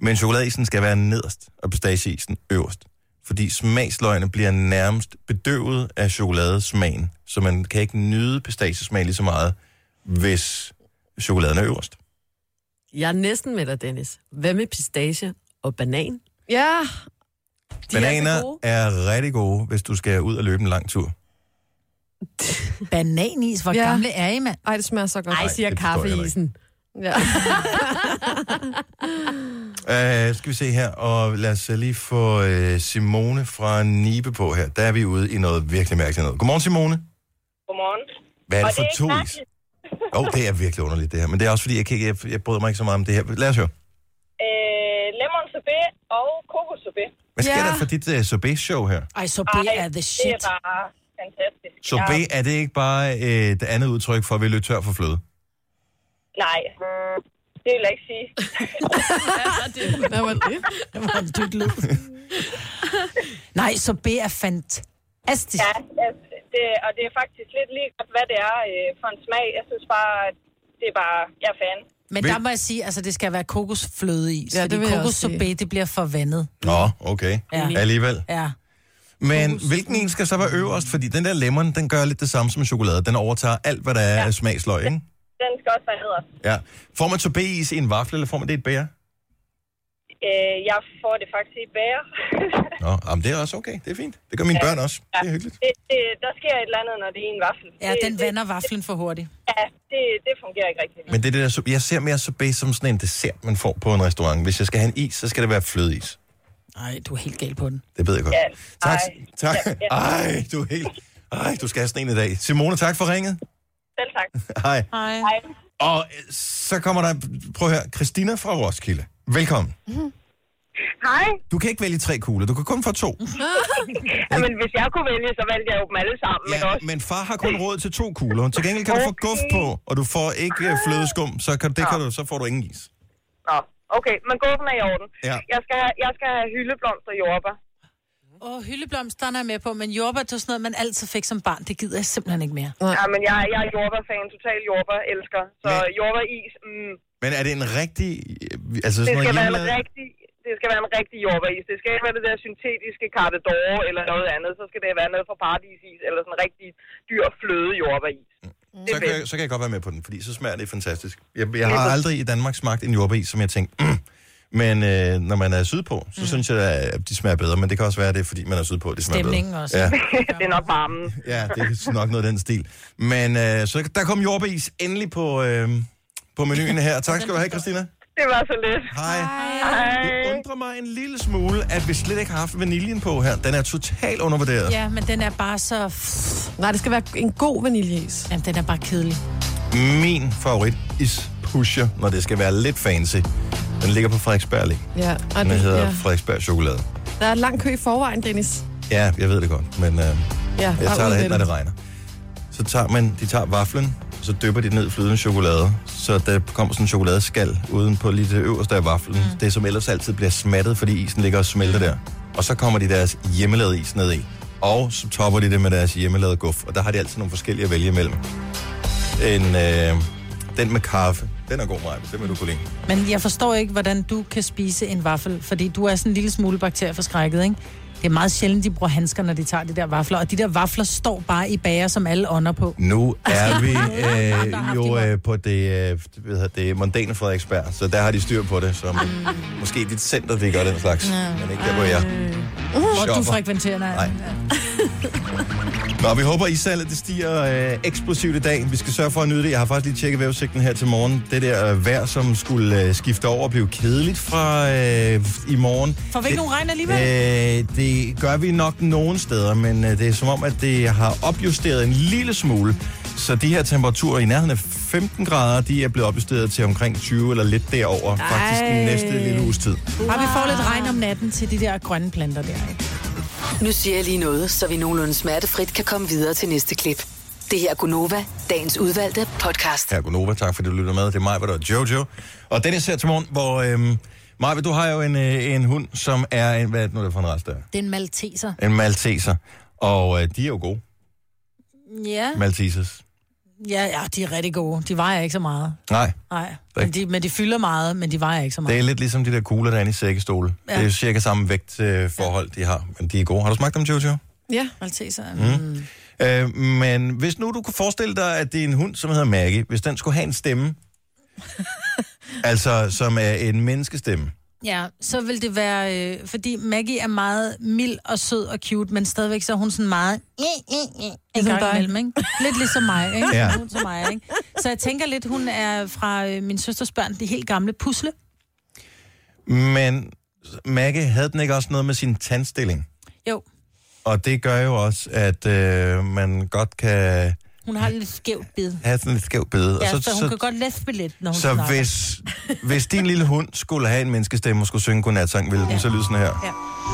Men chokoladeisen skal være nederst, og pistacheisen øverst. Fordi smagsløgene bliver nærmest bedøvet af chokoladesmagen. Så man kan ikke nyde pistachesmag lige så meget, hvis chokoladen er øverst. Jeg er næsten med dig, Dennis. Hvad med pistache og banan? Ja, De Bananer Er er, så gode. er rigtig gode, hvis du skal ud og løbe en lang tur. [laughs] Bananis, hvor Ja. ja. gamle er I, mand? ej, det smager så godt. Ej, siger det forstår jeg heller kaffeisen. Ja. [laughs] Øh, skal vi se her, og lad os øh, lige få øh, Simone fra Nibe på her. Der er vi ude i noget virkelig mærkeligt noget. Godmorgen, Simone. Godmorgen. Hvad er Og det for det er to ikke is? Jo, oh, det er virkelig underligt det her, men det er også fordi, jeg, kan ikke, jeg, jeg bryder mig ikke så meget om det her. Lad os høre. Øh, lemon sorbet og kokos sorbet. Hvad sker Ja. der for dit uh, sorbet-show her? Ej, så B er the det shit. er bare fantastisk. Sorbet, er det ikke bare øh, et andet udtryk for, at vi er lidt tør for fløde? Nej, det vil jeg ikke sige. Hvad var det? [laughs] Det var en dyt lyd. [laughs] Nej, så B er fantastisk. Ja, altså, det, og det er faktisk lidt lige godt, hvad det er øh, for en smag. Jeg synes bare, at det er bare, jeg er fan. Men Vil- der må jeg sige, altså det skal være kokosfløde i. Ja, Ja, det det vil jeg kokos også sige. sorbet, det bliver for vandet. Nå, okay. Ja. Alligevel. Ja. Men hvilken en skal så være øverst? Fordi den der lemon, den gør lidt det samme som chokolade. Den overtager alt, hvad der er af smagsløg, ikke? Den skal også være nederst. Ja. Får man sorbet-is i en vafle, eller får man det i et bære? Øh, jeg får det faktisk i bære. Nå, jamen, [laughs] det er også okay. Det er fint. Det gør mine børn også. Det er hyggeligt. det, det, der sker et eller andet, når det er en vaffel. Ja, det, den det, vander vaflen for hurtigt. ja, det, det fungerer ikke rigtigt. Men det er det der, sorbet- jeg ser mere sorbet som sådan en dessert, man får på en restaurant. Hvis jeg skal have en is, så skal det være flødeis. Nej, du er helt gal på den. Det ved jeg godt. Ja, tak. ej. tak. Ja, ja. Ej, du er helt... Ej, du skal have sådan en i dag. Simone, tak for ringet. Selv [laughs] tak. Hej. Nej. Hej. Og øh, så kommer der... Prøv at høre. Christina fra Roskilde. Velkommen. Hej. Du kan ikke vælge tre kugler. Du kan kun få to. Jamen, hvis jeg kunne vælge, så valgte jeg jo dem alle sammen. ikke også? men far har kun råd til to kugler. Til gengæld kan du få guf på, og du får ikke øh, flødeskum, så, kan, det kan du, så får du ingen is. Nå, okay, men gåben er i orden. Ja. Jeg, skal have, jeg skal have hyldeblomster og jordbær. Og hyldeblomsterne er jeg med på, men jordbær, det er sådan noget, man altid fik som barn. Det gider jeg simpelthen ikke mere. Ja, men jeg, jeg er jordbærfan, total jordbær-elsker. Så Men- Altså, jordbær-is, mm, Men er det en rigtig... øh, Altså det, skal sådan noget være en hjemmelavet? rigtig, det skal være en rigtig jordbær-is. Det skal ikke være det der syntetiske Carte d'Or eller noget andet. Så skal det være noget fra paradisis eller sådan en rigtig dyr fløde jordbær-is. Det Så er kan, bedst. jeg, så kan jeg godt være med på den, fordi så smager det fantastisk. Jeg, jeg har aldrig i Danmark smagt en jordbæs, som jeg tænkte, mm. men øh, når man er sydpå, så mm. synes jeg, at de smager bedre. Men det kan også være, at det er, fordi man er sydpå, det smager Stemningen bedre. også. [laughs] Ja, [laughs] det er nok varmen. ja, det er nok noget af den stil. Men øh, så der kom jordbæs endelig på, øh, på menuen her. Tak skal du have, Christina. Det var så lidt. Hej. Det Hej. undrer mig en lille smule, at vi slet ikke har haft vaniljen på her. Den er totalt undervurderet. Ja, men den er bare så... Nej, det skal være en god vaniljeis. Jamen, den er bare kedelig. Min favorit is pusher, når det skal være lidt fancy. Den ligger på Frederiksberg Allé. Ja. Og Den det, hedder ja. Frederiksberg Chokolade. Der er lang kø i forvejen, Dennis. Ja, jeg ved det godt, men øh, jeg Ja, bare tager det ud med hen, når det regner. Så tager man, de tager vaflen, så dypper de den ned i flydende chokolade, så der kommer sådan en chokoladeskal uden på lige det øverste af vaflen. Mm. Det, som ellers altid bliver smattet, fordi isen ligger og smelter der. Og så kommer de deres hjemmelavede is ned i. Og så topper de det med deres hjemmelavede guf. Og der har de altid nogle forskellige at vælge imellem. En, øh, den med kaffe, den er god, Maja. Den vil du kunne lide. Men jeg forstår ikke, hvordan du kan spise en vaffel, fordi du er sådan en lille smule bakterieforskrækket, ikke? Det er meget sjældent, de bruger handsker, når de tager de der vafler. Og de der vafler står bare i bager, som alle ånder på. Nu Altså, er [laughs] vi øh, jo øh, på det, øh, hvad hedder det mondane Frederiksberg, så der har de styr på det. Så Ah. mm. måske dit center, det gør den slags, men ikke der, hvor jeg Øh. Hvor du shopper. frekventerer nej. Nej. [laughs] Nå, vi håber, issalget det stiger øh, eksplosivt i dag. Vi skal sørge for at nyde det. Jeg har faktisk lige tjekket vejrudsigten her til morgen. Det der øh, vejr, som skulle øh, skifte over og blive kedeligt fra øh, i morgen. Får vi ikke nogen regn alligevel? Øh, det gør vi nok nogle steder, men øh, det er som om, at det har opjusteret en lille smule. Så de her temperaturer i nærheden af 15 grader, de er blevet opjusteret til omkring 20 eller lidt derover. Ej. Faktisk den næste lille uges tid. Bare vi får lidt regn om natten til de der grønne planter der, ikke? Nu siger jeg lige noget, så vi nogenlunde smertefrit kan komme videre til næste klip. Det her er Gunova, dagens udvalgte podcast. Her er Gunova, tak fordi du lytter med. Det er mig, og Jojo. Og Dennis her til morgen, hvor... Øhm, Maja, du har jo en, øh, en hund, som er en... Hvad er det nu, der er for en rest der? er? Det er en malteser. En malteser. Og øh, de er jo gode, Ja. maltesers. ja. Ja, de er rigtig gode. De vejer ikke så meget. Nej, Nej. er Men de, men de fylder meget, men de vejer ikke så det meget. er lidt ligesom de der kugler, der er inde i sækkestole. Ja. Ja. Det er cirka samme vægtforhold, de har, men de er gode. Har du smagt dem, Jojo? Ja, Malteser. Mm. Øh, men hvis nu du kunne forestille dig, at det er en hund, som hedder Maggie, hvis den skulle have en stemme, altså som er en menneskestemme, Ja, så vil det være... Øh, fordi Maggie er meget mild og sød og cute, men stadigvæk så er hun sådan meget... Ligesom dig. Imellem, ikke? [laughs] Lidt ligesom mig, ikke? Ja. Hun som mig, ikke? Så jeg tænker lidt, hun er fra øh, min søsters børn, de helt gamle pusle. men Maggie havde den ikke også noget med sin tandstilling? Jo, Og det gør jo også, at øh, man godt kan hun har lidt skævt bid. have sådan lidt skæv bede. Ja, og så, så hun kan godt læspe lidt, når hun så snakker. hvis, hvis din lille hund skulle have en menneskestemme og skulle synge godnatsang, ville den så lyde sådan her.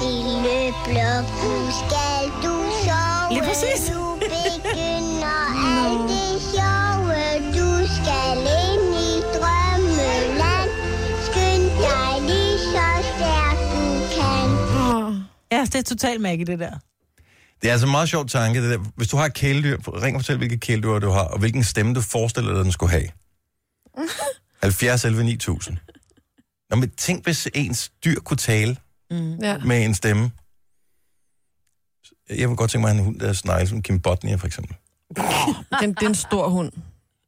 Lille blokhus, skal du sove? Lige præcis. Nu begynder alt det sjove. Du skal ind i drømmeland. Skynd dig lige så stærkt du kan. Åh, Ja, det er totalt Maggie, det der. Det er altså en meget sjov tanke. Det der. Hvis du har et kæledyr, ring og fortæl, hvilke kæledyr du har, og hvilken stemme du forestiller dig, den skulle [laughs] have. 70 11 9000. Nå, men tænk, hvis ens dyr kunne tale Mm. ja. med en stemme. Jeg kunne godt tænke mig, at en hund, der snakker som Kim Botnia, for eksempel. Den, det er en stor hund.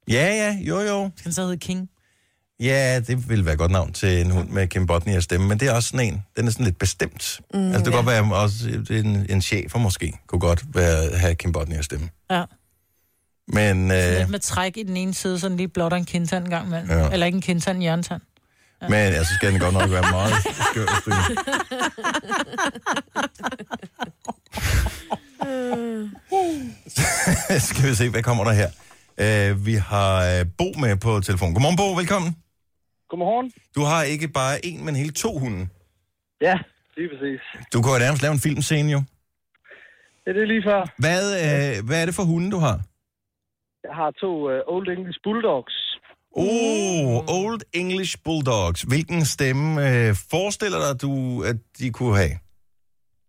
Ja, ja, jo, jo. Skal den så hedde King? Ja, det ville være et godt navn til en hund med Kim Botnia stemme, men det er også sådan en, den er sådan lidt bestemt. Mm, altså, det kan godt være også en, en chefer måske, kunne godt være, have Kim Botnia stemme. Ja. Men, øh, Lidt med træk i den ene side, sådan lige blot og en kindtand en gang imellem. Ja. Ja. Eller ikke en kindtand, en hjørntand. Men altså, skal den godt nok være meget skør. hvis du- skal vi se, hvad kommer der her? Uh, vi har øh, Bo med på telefon. Godmorgen, Bo. Velkommen. Godmorgen. Du har ikke bare en, men hele to hunde. Ja, lige præcis. Du kunne jo nærmest lave en filmscene, jo. Ja, det er lige før. Hvad, øh, hvad er det for hunde, du har? Jeg har to uh, Old English Bulldogs. Uh. Oh, Old English Bulldogs. Hvilken stemme øh, forestiller dig, du, at de kunne have?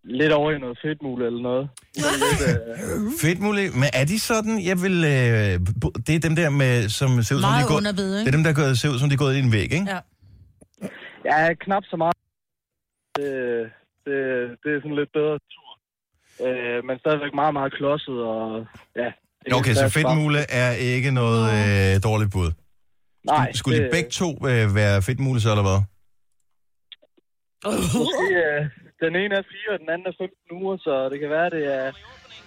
Lidt over i noget fedtmule eller noget. Uh. Fedt muligt. Men er de sådan? Jeg vil... Øh, bu- det er dem der, med, som ser ud som de Meget går... underbid, Det er ikke? dem, der går, ser ud som de er gået ind i en væg, ikke? Ja. Ja, knap så meget. Det, det, det er sådan lidt bedre tur. Øh, men stadigvæk meget, meget klodset og ja. det Okay, er så svært bare- fedtmule er ikke noget øh, dårligt bud. Nej, Skulle de det- begge to øh, være fedtmule så, eller hvad? det er, øh, den ene er 4, og den anden er 15 uger, så det kan være, det er,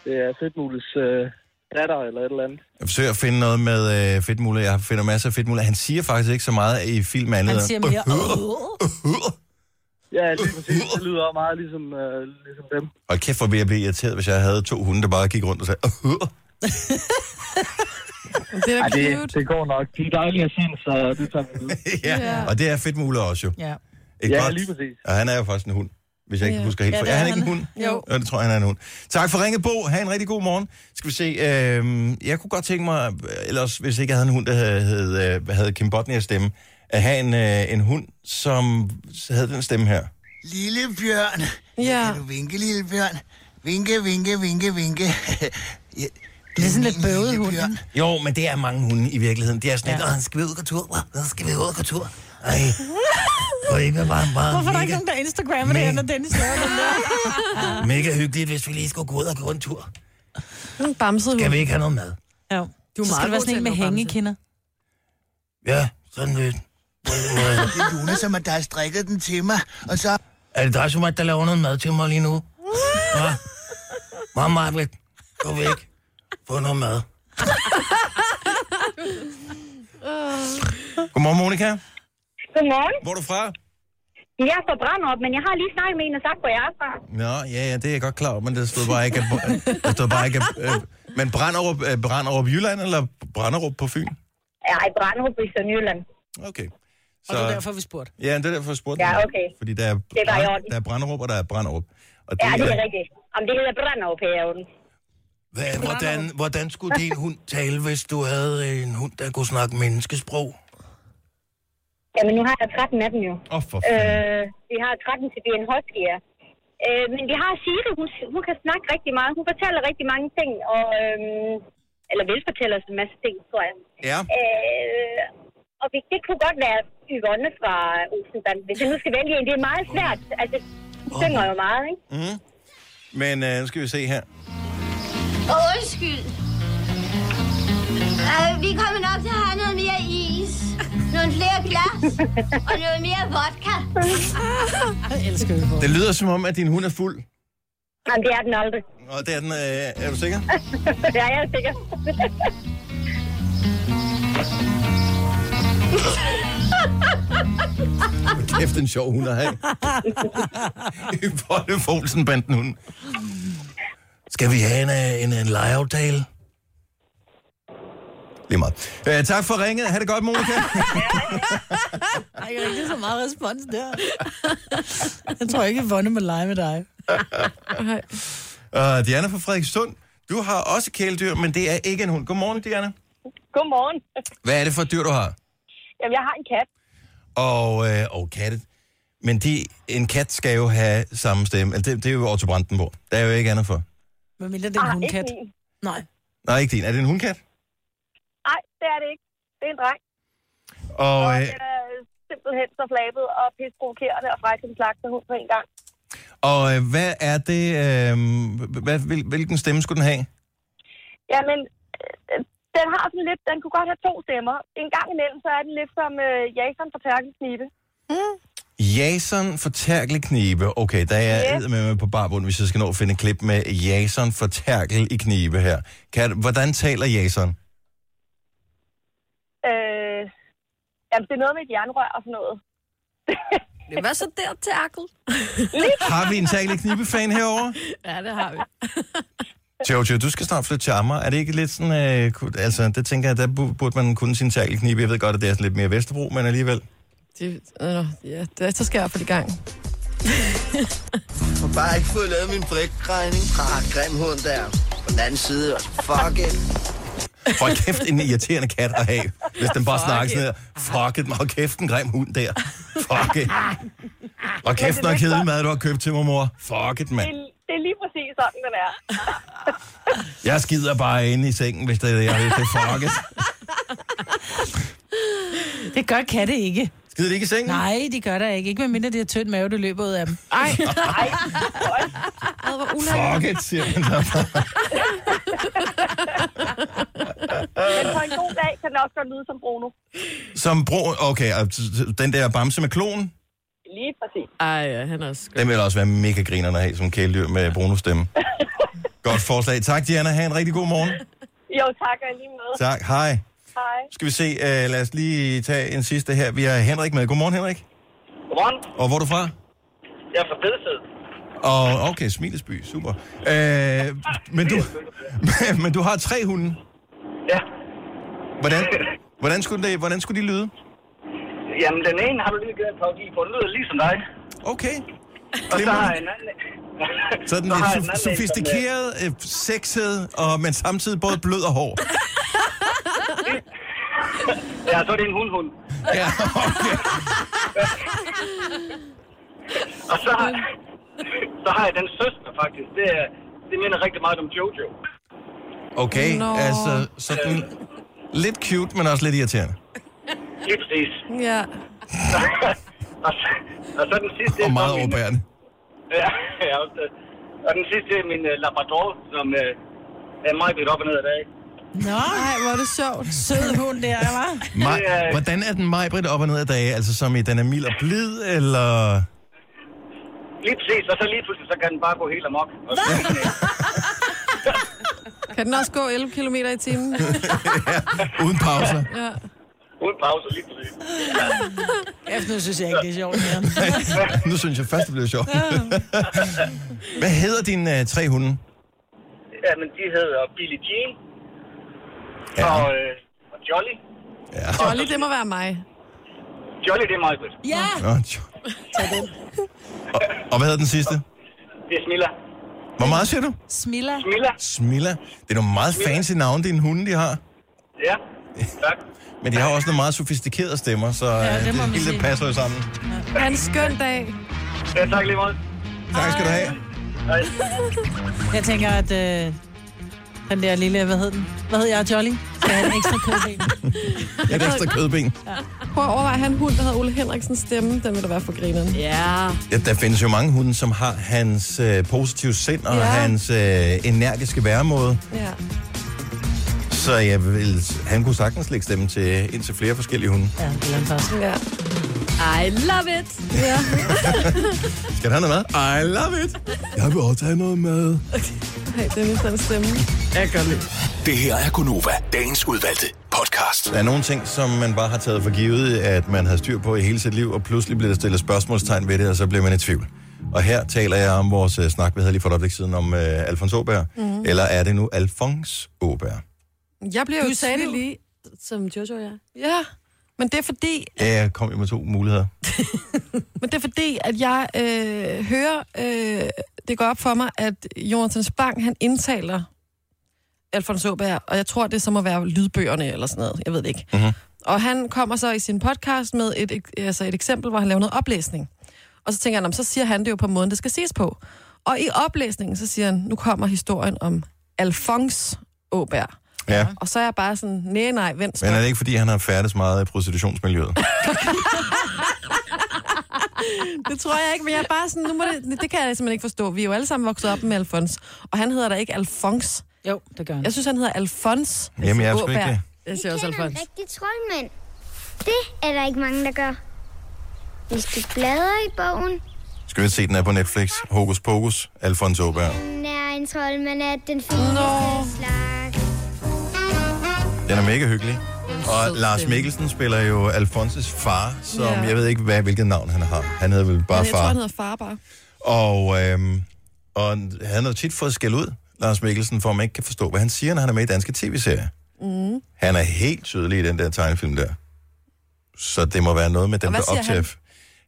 det er fedtmules øh, datter eller et eller andet. Jeg forsøger at finde noget med øh, fedtmule. Jeg finder masser af fedtmule. Han siger faktisk ikke så meget i film andet. Han end, siger [laughs] mere... "Øh, "Åh." øh, [laughs] øh." Ja, lige præcis. Det lyder også meget ligesom, øh, ligesom dem. Og kæft, hvor ville jeg blive irriteret, hvis jeg havde to hunde, der bare gik rundt og sagde... "Øh, øh." Men Det er da Ej, det, cute. det går nok. De er dejlige at se, så det tager vi ud. [laughs] ja, Ja. og det er fedtmule også jo. Ja. Et Ja, godt- lige præcis. Og han er jo faktisk en hund, hvis jeg ikke Ja. husker helt. Ja, Ja, det er er han ikke en han. hund? Jo. Ja, det tror jeg, han er en hund. Tak for ringet, Bo. Ha' en rigtig god morgen. Skal vi se, øh, jeg kunne godt tænke mig, ellers hvis ikke jeg havde en hund, der havde, havde, øh, havde Kim Botnia stemme, at have en, øh, en hund, som havde den stemme her. [laughs] Lille bjørn. Ja. vinke, lille bjørn? Vinke, vinke, vinke, vinke. [laughs] ja, Det er sådan lidt bøvet hund. ikke? Jo, men det er mange hunde i virkeligheden. Det er sådan lidt, "Åh, skal vi ud og gå tur? Hva? skal vi ud og gå tur? Ej, hvor ikke bare, bare Hvorfor er der ikke nogen, der Instagrammer det her, når Dennis laver den [laughs] der? mega hyggeligt, hvis vi lige skulle gå ud og gå en tur? En bamset hund. ikke have noget mad? Ja. Du meget skal det god være til sådan en at med lave bamse. hængekinder. Ja, sådan lidt. det er Luna, som der har strikket den til mig, og så... Er det dig, som er, der laver noget mad til mig lige nu? Ja. Mamma, Marvitt, gå væk. Få noget mad. [laughs] Godmorgen, Monika. Godmorgen. Hvor er du fra? Jeg er fra Brandrup, men jeg har lige snakket med en og sagt, hvor jeg er fra. Nå, ja, ja, det er jeg godt klar over, men det stod bare ikke, at, [laughs] det stod bare ikke, at, øh, men Branderup, øh, Branderup Jylland, eller Branderup på Fyn? Ej, Brandrup i Sønderjylland. Okay. Og det er derfor, vi spurgte. Ja, det er derfor, jeg spurgte Ja, dig. okay. Fordi der er, er bare i brand- orden. der er Branderup, og der er Branderup. Og det, Ja, det er rigtigt. Om det hedder brandophaven. Hvad, hvordan, hvordan skulle din hund tale, hvis du havde en hund, der kunne snakke menneskesprog? Jamen, nu har jeg 13 af dem jo. Åh, oh, for øh, Vi har 13 til en huskyer. Øh, men vi har Siri, hun, hun kan snakke rigtig meget. Hun fortæller rigtig mange ting, og, øh, eller vil fortælle os en masse ting, tror jeg. Ja. Øh, og vi, det kunne godt være Yvonne fra Olsenband, hvis jeg nu skal vælge en. Det er meget svært. Altså, hun synger jo meget, ikke? Mm. Men øh, nu skal vi se her. Undskyld. Øh, vi kommer nok til at have noget mere is, nogle flere glas og noget mere vodka. Jeg elsker det. Det lyder som om, at din hund er fuld. Jamen, det er den aldrig. Og det er den, øh, er du sikker? [laughs] ja, jeg er sikker. [laughs] Kæft, en sjov hund at have. [laughs] Yvonne Folsen bandt en hund. Skal vi have en, øh, en, en legeaftale? Lige meget. Øh, tak for ringet. Ha' det godt, [laughs] Monika. Ej, Jeg har ikke så meget respons der. [laughs] Jeg tror ikke, Vonne må lege med dig. Og Diana fra Frederikssund, du har også kæledyr, men det er ikke en hund. Godmorgen, Diana. Godmorgen. [laughs] Hvad er det for et dyr, du har? Jamen, jeg har en kat. Og, øh, og katte. Men de, en kat skal jo have samme stemme. Altså, det, det er jo Otto Brandenburg. Der er jo ikke andet for. Hvad mindre det er en Ah, hundkat? ikke min. Nej. Nej, ikke din. Er det en hundkat? Nej, det er det ikke. Det er en dreng. Og, øh, Den er simpelthen så flabet og pisprovokerende og fræk som slags hund på en gang. og øh, hvad er det... Øh, hvad, hvil, hvilken stemme skulle den have? Jamen, øh, den har sådan lidt, den kunne godt have to stemmer. En gang imellem, så er den lidt som øh, Jason fra Tærkensnibe. Mm. Jason for Terkel Knibe. Okay, der er jeg med, med på barbund, hvis jeg skal nå at finde et klip med Jason for Terkel i Knibe her. Kan, hvordan taler Jason? Øh, jamen, det er noget med et jernrør og sådan noget. Hvad så der, Terkel? Har vi en Terkel i Knibe-fan herovre? Ja, det har vi. Jojo, du skal snart flytte til Amager. Er det ikke lidt sådan... Øh, ku- altså, det tænker jeg, der bu- burde man kunne sin Terkel Knibe. Jeg ved godt, at det er sådan lidt mere Vesterbro, men alligevel. Det, øh, ja, det, så skal jeg i hvert fald i gang. Jeg har bare ikke fået lavet min brækregning. Ah, grim hund der. På den anden side. altså, Fuck it. Hold kæft, en irriterende kat at have, hvis den bare snakker sådan her. Fuck it, hold kæft, en grim hund der. Fuck it. Og kæft, nok kedelig mad, du har købt til mig, mor. Fuck it, mand. Det, er- det er lige præcis sådan, den er. Jeg skider bare inde i sengen, hvis det er det, jeg vil. Det er fucket. Det gør katte ikke. Skider de ikke i sengen? Nej, de gør der ikke. Ikke medmindre det er tynd mave, du løber ud af dem. Ej, nej. Fuck it, siger man så. Men på en god dag kan den også godt lyde som Bruno. Som bro... Okay, og t- t- den der bamse med klonen, Lige præcis. Ej, ja, han er også skøn. den vil også være mega griner at have som kæledyr med [laughs] Bruno-stemme. Godt forslag. Tak, Diana. Ha' en rigtig god morgen. Jo, tak og i lige måde. Tak. Hej. Hej. Skal vi se, uh, lad os lige tage en sidste her. Vi har Henrik med. Godmorgen, Henrik. Godmorgen. Og hvor er du fra? Jeg er fra Bedsted. Og okay, Smilesby. Super. Uh, men, du, [laughs] men du har tre hunde. Ja. Hvordan, hvordan, skulle, det, hvordan skulle de lyde? Jamen, den ene har du lige givet en pop i, for den lyder ligesom dig. Okay. Og så Glimrende. har jeg en anden... Sådan [laughs] Så lidt har jeg en so- anden sofistikeret, øh, sexet, og, men samtidig både blød og [laughs] hård. øh, Ja, så er det en hundhund. Ja, okay. Og så har, [laughs] så har jeg den søster, faktisk. Det, er, det minder rigtig meget om Jojo. Okay, Nå. altså sådan lidt cute, men også lidt irriterende. Lige præcis. [laughs] Ja. Og så, og så den sidste... Og meget så min- overbærende. Ja, [laughs] ja, også det. Og den sidste er min uh, Labrador, som uh, er meget lidt op og ned i dag. Nå, Ej, hvor er det sjovt. Sød hund der, hva'? Maj, hvordan er den Majbrit op og ned ad dage? Altså som i, den er mild og blid, eller... Lige præcis, og så lige pludselig, så kan den bare gå helt amok. Og så, Kan den også gå 11 km i [laughs] timen? Uden pauser. Ja. uden pause, lige præcis. Efter nu synes jeg ikke, det er [laughs] sjovt mere. nu synes jeg først, det bliver sjovt. [laughs] Hvad hedder dine øh, tre hunde? Ja, men de hedder Billie Jean ja. og, øh, og Jolly. Ja. Jolly, det må være mig. Jolly, det er meget godt. Ja! Nå, tjo. og, og hvad hedder den sidste? Det er Smilla. Hvor meget siger du? Smilla. Smilla. Smilla. Det er nogle meget fancy navne, dine hunde, de har. Ja, tak. Men de har også nogle meget sofistikerede stemmer, så ja, det det, må det man hele sige. det passer jo sammen. Ha' en skøn dag. Ja, tak lige meget. Tak skal du have. Jeg tænker, at øh, den der lille, hvad hed den? Hvad hed jeg? Jolly? Skal have en ekstra kødben. Et ekstra kødben. Prøv at overveje, at han hund, der hedder Ole Henriksens stemme. Den vil da være for grineren. Ja. Ja, der findes jo mange hunde, som har hans øh, positive sind og Ja. ja. hans øh, energiske væremåde. Ja. Så jeg vil, han kunne sagtens lægge stemme til indtil flere forskellige hunde. Ja, det er også. Ja. I love it. Ja. Skal han have noget mad? I love it. Jeg vil også have noget mad. Hey, Dennis, den stemme. Jeg kan lide. Det her er Gonova, dagens udvalgte podcast. Der er nogle ting, som man bare har taget for givet, at man har styr på i hele sit liv, og pludselig bliver der stillet spørgsmålstegn ved det, og så bliver man i tvivl. Og her taler jeg om vores øh, snak, vi havde lige for et øjeblik siden, om øh, Alfons Åberg. Mhm. Mm. Eller er det nu Alfons Åberg? Jeg bliver Du jo i sagde det tvivl. lige, som Jojo og jeg. Ja. Men det er fordi, Ja, jeg kom jo med to muligheder. Men det er fordi, at jeg øh, hører, øh, det går op for mig, at Jonathan Spang, han indtaler Alfons Åberg, og jeg tror, det er som at være lydbøgerne eller sådan noget. Jeg ved det ikke. Mhm. Og han kommer så i sin podcast med et, ek- altså et eksempel, hvor han laver noget oplæsning. Og så tænker jeg, "Nå, men så siger han det jo på måden, det skal ses på. Og i oplæsningen, så siger han, nu kommer historien om Alfons Åberg. Ja. Og så er jeg bare sådan, nej, nej, vent. Men er det ikke, fordi han har færdes meget i prostitutionsmiljøet? det tror jeg ikke, men jeg er bare sådan, nu må det, det kan jeg simpelthen ikke forstå. Vi er jo alle sammen vokset op med Alfons, og han hedder da ikke Alfons. Jo, det gør han. Jeg synes, han hedder Alfons. Jamen, jeg er sgu Åberg. ikke det. Jeg siger også en Alfons. rigtig troldmand. Det er der ikke mange, der gør. Hvis du bladrer i bogen, Skal vi se, den er på Netflix. Hokus Pokus, Alfons Åberg. den er en troldmand af den fineste slags. Den er mega hyggelig. Og Lars Mikkelsen spiller jo Alfonses far, som Ja. ja. jeg ved ikke, hvad, hvilket navn han har. Han hedder vel bare Men jeg tror, far. han hedder far bare. Og, øhm, og han har tit fået skæld ud, Lars Mikkelsen, for at man ikke kan forstå, hvad han siger, når han er med i danske tv-serier. Mm. Han er helt tydelig i den der tegnefilm der. Så det må være noget med Og dem, hvad der siger optager. han?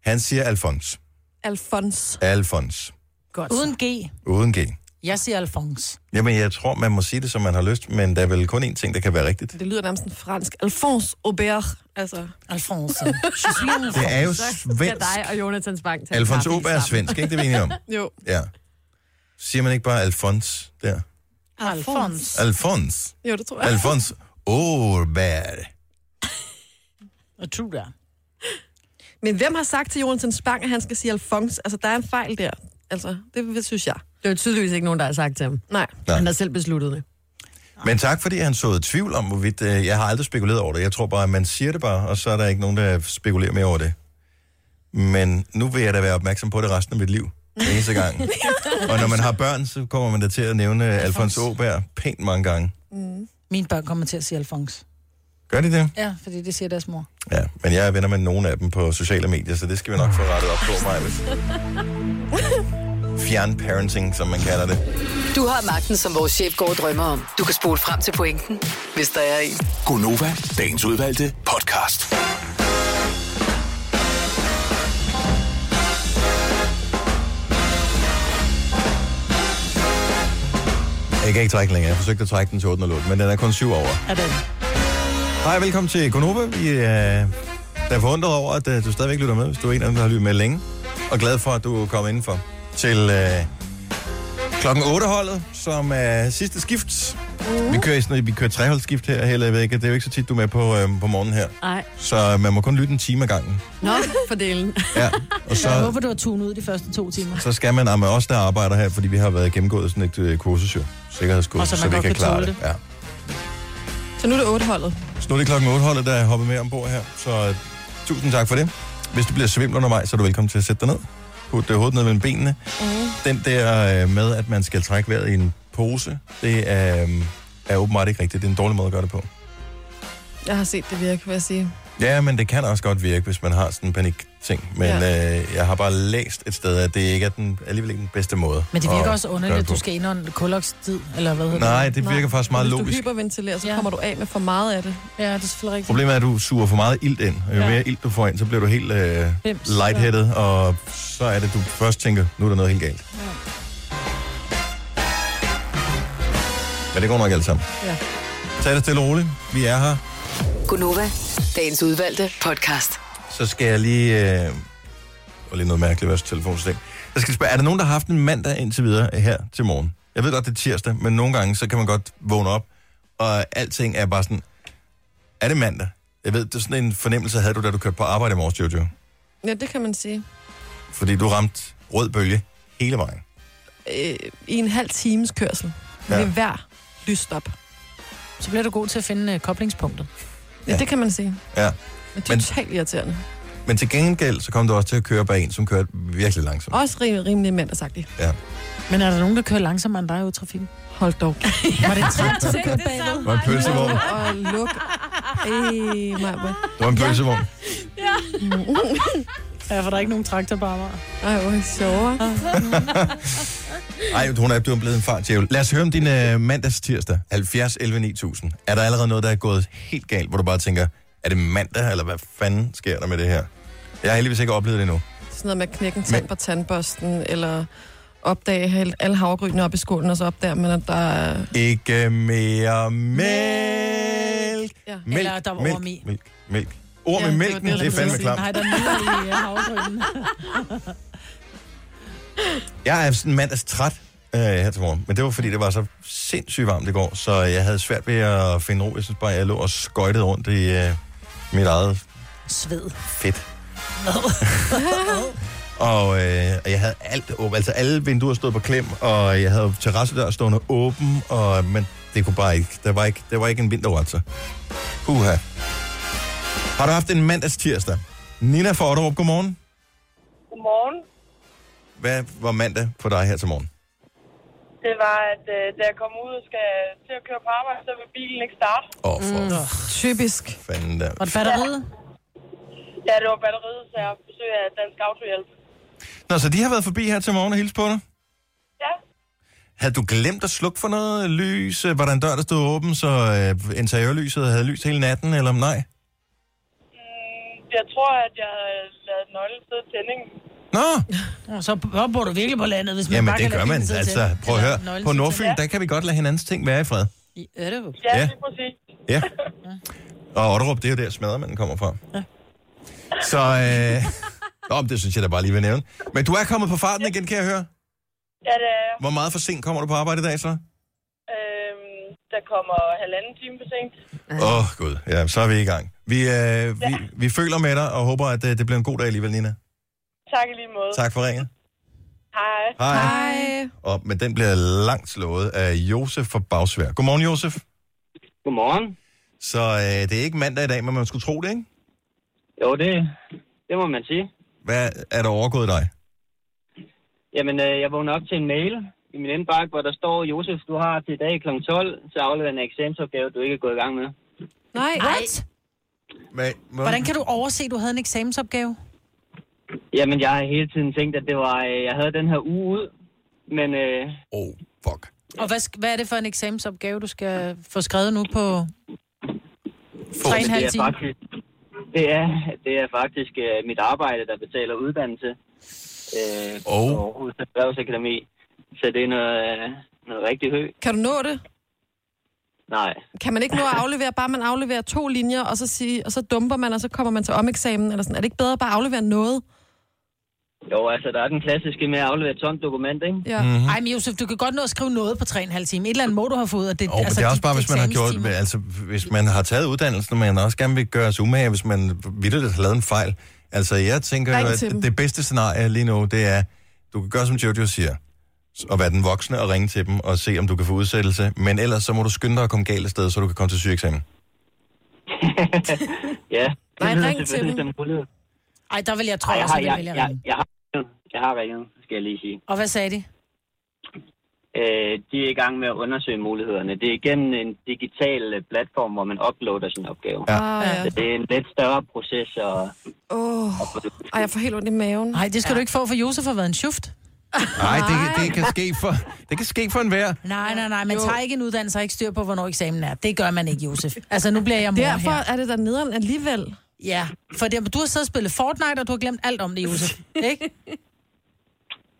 Han? han siger Alfons. Alfons. Alfons. Godt. Uden G. Uden G. Jeg siger Alfons. Jamen, jeg tror, man må sige det, som man har lyst, men der er vel kun én ting, der kan være rigtigt. Det lyder nærmest sådan fransk. Alfons Aubert. Altså. Alfons. Det er jo Skal svensk. dig og Jonathan Spang tage en Alfons kaffe Åberg er sammen. svensk, ikke det, vi [laughs] er enige om? Jo. Ja. Siger man ikke bare Alfons der? Alfons. Alfons. Jo, det tror jeg. Alfons Åberg. Og du der. Men hvem har sagt til Jonathan Spang, at han skal sige Alfons? Altså, der er en fejl der. Altså, det synes jeg. Det er tydeligvis ikke nogen, der har sagt til ham. Nej. Nej. Han har selv besluttet det. Men tak, fordi han såede tvivl om, hvorvidt... Øh, jeg har aldrig spekuleret over det. Jeg tror bare, at man siger det bare, og så er der ikke nogen, der spekulerer mere over det. Men nu vil jeg da være opmærksom på det resten af mit liv. Den eneste [laughs] gang. Og når man har børn, så kommer man da til at nævne Alfons Åberg pænt mange gange. Mm. Mine børn kommer til at sige Alfons. Gør de det? Ja, fordi det siger deres mor. Ja, men jeg er venner med nogle af dem på sociale medier, så det skal vi nok få rettet op på mig. Fjernparenting, som man kalder det. Du har magten, som vores chef går og drømmer om. Du kan spole frem til pointen, hvis der er en. Gonova, dagens udvalgte podcast. Jeg kan ikke trække den længere. Jeg forsøgte at trække den til 8 og 8, men den er kun 7 over. Er det? Hej, velkommen til Konoba. Vi er, der er forundret over, at øh, du stadigvæk lytter med, hvis du er en af dem, der har lyttet med længe. Og glad for, at du er kommet indenfor til øh, klokken 8-holdet, som er sidste skift. Vi kører, i sådan, noget- vi kører treholdsskift her, heller jeg ved ikke. Det er jo ikke så tit, du er med på, øh, på morgenen her. Nej. Så øh, man må kun lytte en time ad gangen. Nå, fordelen. Ja, og Så... Jeg så, håber, du har tunet ud de første to timer. så skal man, og med os, der arbejder her, fordi vi har været gennemgået sådan et øh, kursus jo, Og så sikkerhedskursus, man så, vi godt kan, kan klare tåle det. det. Ja. Så nu er det otte holdet. Så nu er det klokken 8 holdet, der er hoppet med ombord her. Så øh, tusind tak for det. Hvis du bliver svimmel undervejs, så er du velkommen til at sætte dig ned. Put øh, hovedet ned mellem benene. Den der øh, med, at man skal trække vejret i en pose, det er, øh, er åbenbart ikke rigtigt. Det er en dårlig måde at gøre det på. Jeg har set det virke, vil jeg sige. Ja, men det kan også godt virke, hvis man har sådan en panik-ting. Men ja. øh, jeg har bare læst et sted, at det ikke er den, alligevel ikke den bedste måde. Men det virker at også underligt, gøre at du på. skal indånde kolokstid, eller hvad hedder Nej, det virker faktisk meget Hvis logisk. du hyperventilerer, så ja. kommer du af med for meget af det. Ja, det er selvfølgelig rigtigt. Problemet er, at du suger for meget ilt ind, og jo Ja. ja. mere ilt du får ind, så bliver du helt øh, Bims, lightheaded, og så er det, du først tænker, nu er der noget helt galt. Ja, det går nok alt sammen. Ja. Tag det stille og roligt. Vi er her. Gunova, dagens udvalgte podcast. Så skal jeg lige... Øh... Og lige noget mærkeligt ved vores telefonsystem. Jeg skal spørge, er der nogen, der har haft en mandag indtil videre øh, her til morgen? Jeg ved godt, det er tirsdag, men nogle gange, så kan man godt vågne op, og alting er bare sådan... Er det mandag? Jeg ved, det er sådan en fornemmelse, havde du, da du kørte på arbejde i morges, Jojo. Ja, det kan man sige. Fordi du ramte rød bølge hele vejen. Øh, I en halv times kørsel. Ja. Ja. Ved hver lysstop. Så bliver du god til at finde øh, koblingspunktet. Ja, ja, det kan man sige. Ja. Men det er totalt irriterende. Men til gengæld, så kom du også til at køre bag en, som kørte virkelig langsomt. Også rimelig, rimelig mandagsagtigt. Ja. Men er der nogen, der kører langsommere end dig ude i trafikken? Hold [laughs] dog. Var det træt, Jeg at du tænkte kørte det bagved? Var en pølsevogn. Og luk. Ej, Maja. Det var en pølsevogn. Ja. ja, for der er ikke nogen traktor på Amager. Ej, hvor er det sjovere. Ej, hun er blevet blevet en fartjævel. Lad os høre om din øh, mandags tirsdag. 70 11 9000. Er der allerede noget, der er gået helt galt, hvor du bare tænker, er det mandag, eller hvad fanden sker der med det her? Jeg har heldigvis ikke oplevet det endnu. Sådan noget med at knække en tand på tandbørsten, eller opdage helt- alle havregrynene op i skålen, og så opdager man, at der er... Ikke mere mælk. Ja. Mælk, Eller der var mælk, orm i. Mælk, mælk. Ord Ja, med det var mælken, det, det, der er blev fandme sagt. klamt. Nej, der er nede i øh, havregrynen. Jeg er sådan mandags træt øh, her til morgen, men det var fordi, det var så sindssygt varmt i går, så jeg havde svært ved at finde ro. Jeg synes bare, jeg lå og skøjtede rundt i øh, mit eget Sved. fedt. [laughs] Og, øh, og jeg havde alt åbent, altså alle vinduer stod på klem, og jeg havde terrassedør stående åben, og, men det kunne bare ikke. Der var ikke, der var ikke en vinter, altså. Puha. Har du haft en mandags tirsdag? Nina fra Otterup, godmorgen. Godmorgen. Hvad var mandag for dig her til morgen? Det var, at øh, da jeg kom ud og skal til at køre på arbejde, så vil bilen ikke starte. Åh, oh, for mm. Typisk. fanden der. Var det batteriet? Ja, det var batteriet, så jeg besøger af Dansk Autohjælp. Nå, så de har været forbi her til morgen og hilse på dig? Ja. Havde du glemt at slukke for noget lys? Øh, Var der en dør, der stod åben, så øh, interiørlyset havde lys hele natten, eller om nej? Mm, Jeg tror, at jeg havde lavet nøglen sidde i tændingen. Nå! Nå, Så så bor du virkelig på landet, hvis man Jamen, bare det kan gør lade man. bilen sidde Altså, til. prøv at Eller høre. nøglen På sidde til. Nordfyn, der kan vi godt lade hinandens ting være i fred. I Øderup. Ja, Ja. lige præcis. Ja. Mm. Og Otterup, det er jo der, smadermanden kommer fra. Så, øh... Nå, men det synes jeg da bare lige vil nævne. Men du er kommet på farten igen, kan jeg høre. Ja, det er jeg. Hvor meget for sent kommer du på arbejde i dag, så? Øhm, der kommer halvanden time for sent. Åh, oh, gud. Ja, så er vi i gang. Vi, øh, vi, vi føler med dig og håber, at øh, det bliver en god dag alligevel, Nina. Tak i lige måde. Tak for ringet. Hej. Hej. Hej. Og, men den bliver langt slået af Josef fra Bagsvær. Godmorgen, Josef. Godmorgen. Så øh, det er ikke mandag i dag, men man skulle tro det, ikke? Jo, det, det må man sige. Hvad er der overgået dig? Jamen, øh, jeg vågnede op til en mail i min indbakke, hvor der står, Josef, du har til i dag kl. 12 til at aflevere en eksamensopgave, du ikke er gået i gang med. Nej. What? Men, Hvordan kan du overse, at du havde en eksamensopgave? Jamen, jeg har hele tiden tænkt, at det var, øh, jeg havde den her uge ud, men... Øh, oh. Og hvad, sk- hvad er det for en eksamensopgave, du skal få skrevet nu på 3,5 det er timer? faktisk, det er, det er faktisk øh, mit arbejde, der betaler uddannelse øh, oh. på Aarhus Erhvervsakademi. Så det er noget, øh, noget rigtig hø. Kan du nå det? Nej. Kan man ikke nå at aflevere, bare man afleverer to linjer, og så, sige, og så dumper man, og så kommer man til omeksamen, eller sådan. Er det ikke bedre bare at aflevere noget? Jo, altså, der er den klassiske med at aflevere et tomt dokument, ikke? Ja. Mhm. Ej, men Josef, du kan godt nå at skrive noget på 3,5 timer. Et eller andet må du have fået. Og det, Oh, altså, det er også de- bare, de hvis man har gjort, eksamenstimer. altså, hvis man har taget uddannelsen, men også gerne vil gøre sig umage, hvis man vitterligt har lavet en fejl. Altså, jeg tænker, Ring jo, at til dem. det bedste scenarie lige nu, det er, du kan gøre, som Jojo siger, s- og være den voksne og ringe til dem og se, om du kan få udsættelse. Men ellers, så må du skynde dig at komme galt af sted, så du kan komme til sygeeksamen. Ja. Nej, Det lyder ring til selvfølgelig dem. som en mulighed. Ej, der vil jeg tro, Ej, jeg, også, har, at jeg, jeg vil jeg, ringe. jeg, har, jeg har ringet, skal jeg lige sige. Og hvad sagde de? Øh, de er i gang med at undersøge mulighederne. Det er igennem en digital øh, platform, hvor man uploader sin opgave. Ja. Ah, ja. Så det er en lidt større proces. Og, Åh, oh, ej, jeg får helt ondt i maven. Nej, det skal ja. du ikke få, for Josef har været en schuft. Nej, det, det, kan ske for, det kan ske for enhver. Nej, nej, nej. Man Jo. tager ikke en uddannelse og ikke styr på, hvornår eksamen er. Det gør man ikke, [laughs] Josef. Altså, nu bliver jeg mor Derfor her. er det der nederen alligevel. [laughs] Ja, for det, du har siddet og spillet Fortnite, og du har glemt alt om det, Josef. Ikke?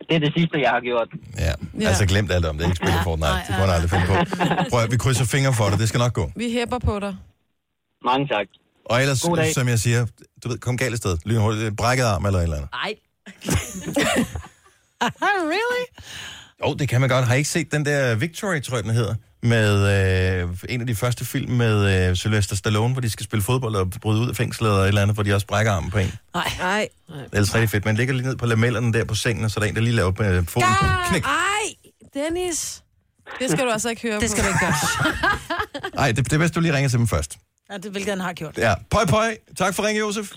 det er det sidste, jeg har gjort. Ja. Ja. Altså glemt alt om det. Ikke spille ja, Fortnite. Det kunne han aldrig finde på. Prøv at, vi krydser fingre for det. Det skal nok gå. Vi hæpper på dig. Mange tak. Og ellers, God dag. som jeg siger, du ved, kom galt af sted. Lynhurtigt. Brækket arm eller et eller andet. Ej. [laughs] really? Jo, det kan man godt. Har I ikke set den der Victory, tror jeg, den hedder? Med øh, en af de første film med øh, Sylvester Stallone, hvor de skal spille fodbold og bryde ud af fængslet og et eller andet, hvor de også brækker armen på en. Det Nej. Nej. er ellers rigtig fedt. Man ligger lige ned på lamellerne der på sengen, og så er der en, der lige laver øh, foden. Ah! Knæk. Ej, Dennis. Det skal du altså ikke høre Det skal på. du ikke gøre. Nej, det, det er bedst, du lige ringer til dem først. Ja, det, hvilket han har gjort. Ja. Pøj, pøj. Tak for ringen, [laughs] Josef.